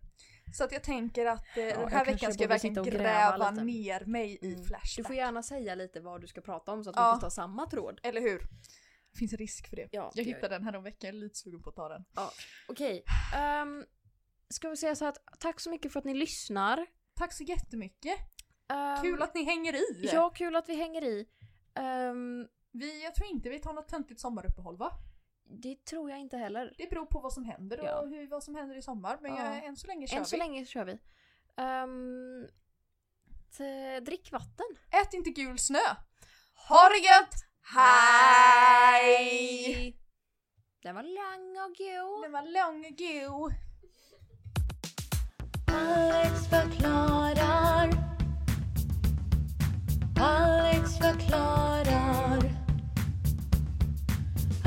Speaker 2: Så att jag tänker att eh,
Speaker 1: jag
Speaker 2: den här
Speaker 1: kanske
Speaker 2: veckan ska
Speaker 1: borde
Speaker 2: jag verkligen
Speaker 1: sitta och
Speaker 2: gräva,
Speaker 1: gräva lite.
Speaker 2: ner mig i
Speaker 1: Mm.
Speaker 2: Flashback.
Speaker 1: Du får gärna säga lite vad du ska prata om så att
Speaker 2: Ja.
Speaker 1: vi inte tar samma tråd.
Speaker 2: Eller hur? Det finns risk för det.
Speaker 1: Ja,
Speaker 2: jag
Speaker 1: det gör
Speaker 2: hittade den här om veckan, jag är lite sugen på att ta den.
Speaker 1: Okej. ehm, ska vi säga så här att tack så mycket för att ni lyssnar.
Speaker 2: Tack så jättemycket!
Speaker 1: Ehm,
Speaker 2: Kul att ni hänger i!
Speaker 1: Ja, kul att vi hänger i. Ehm,
Speaker 2: Vi, jag tror inte vi tar något töntigt sommaruppehåll va?
Speaker 1: det tror jag inte heller.
Speaker 2: Det beror på vad som händer och
Speaker 1: Ja.
Speaker 2: hur, vad som händer i sommar. Men
Speaker 1: Ja.
Speaker 2: jag, än så länge kör
Speaker 1: Än så
Speaker 2: vi.
Speaker 1: länge kör vi. Ehm, t- drick vatten.
Speaker 2: Ät inte gul snö! Ha det gött! Hej!
Speaker 1: Den var lång och god.
Speaker 2: Den var lång och god.
Speaker 3: Alex förklarar.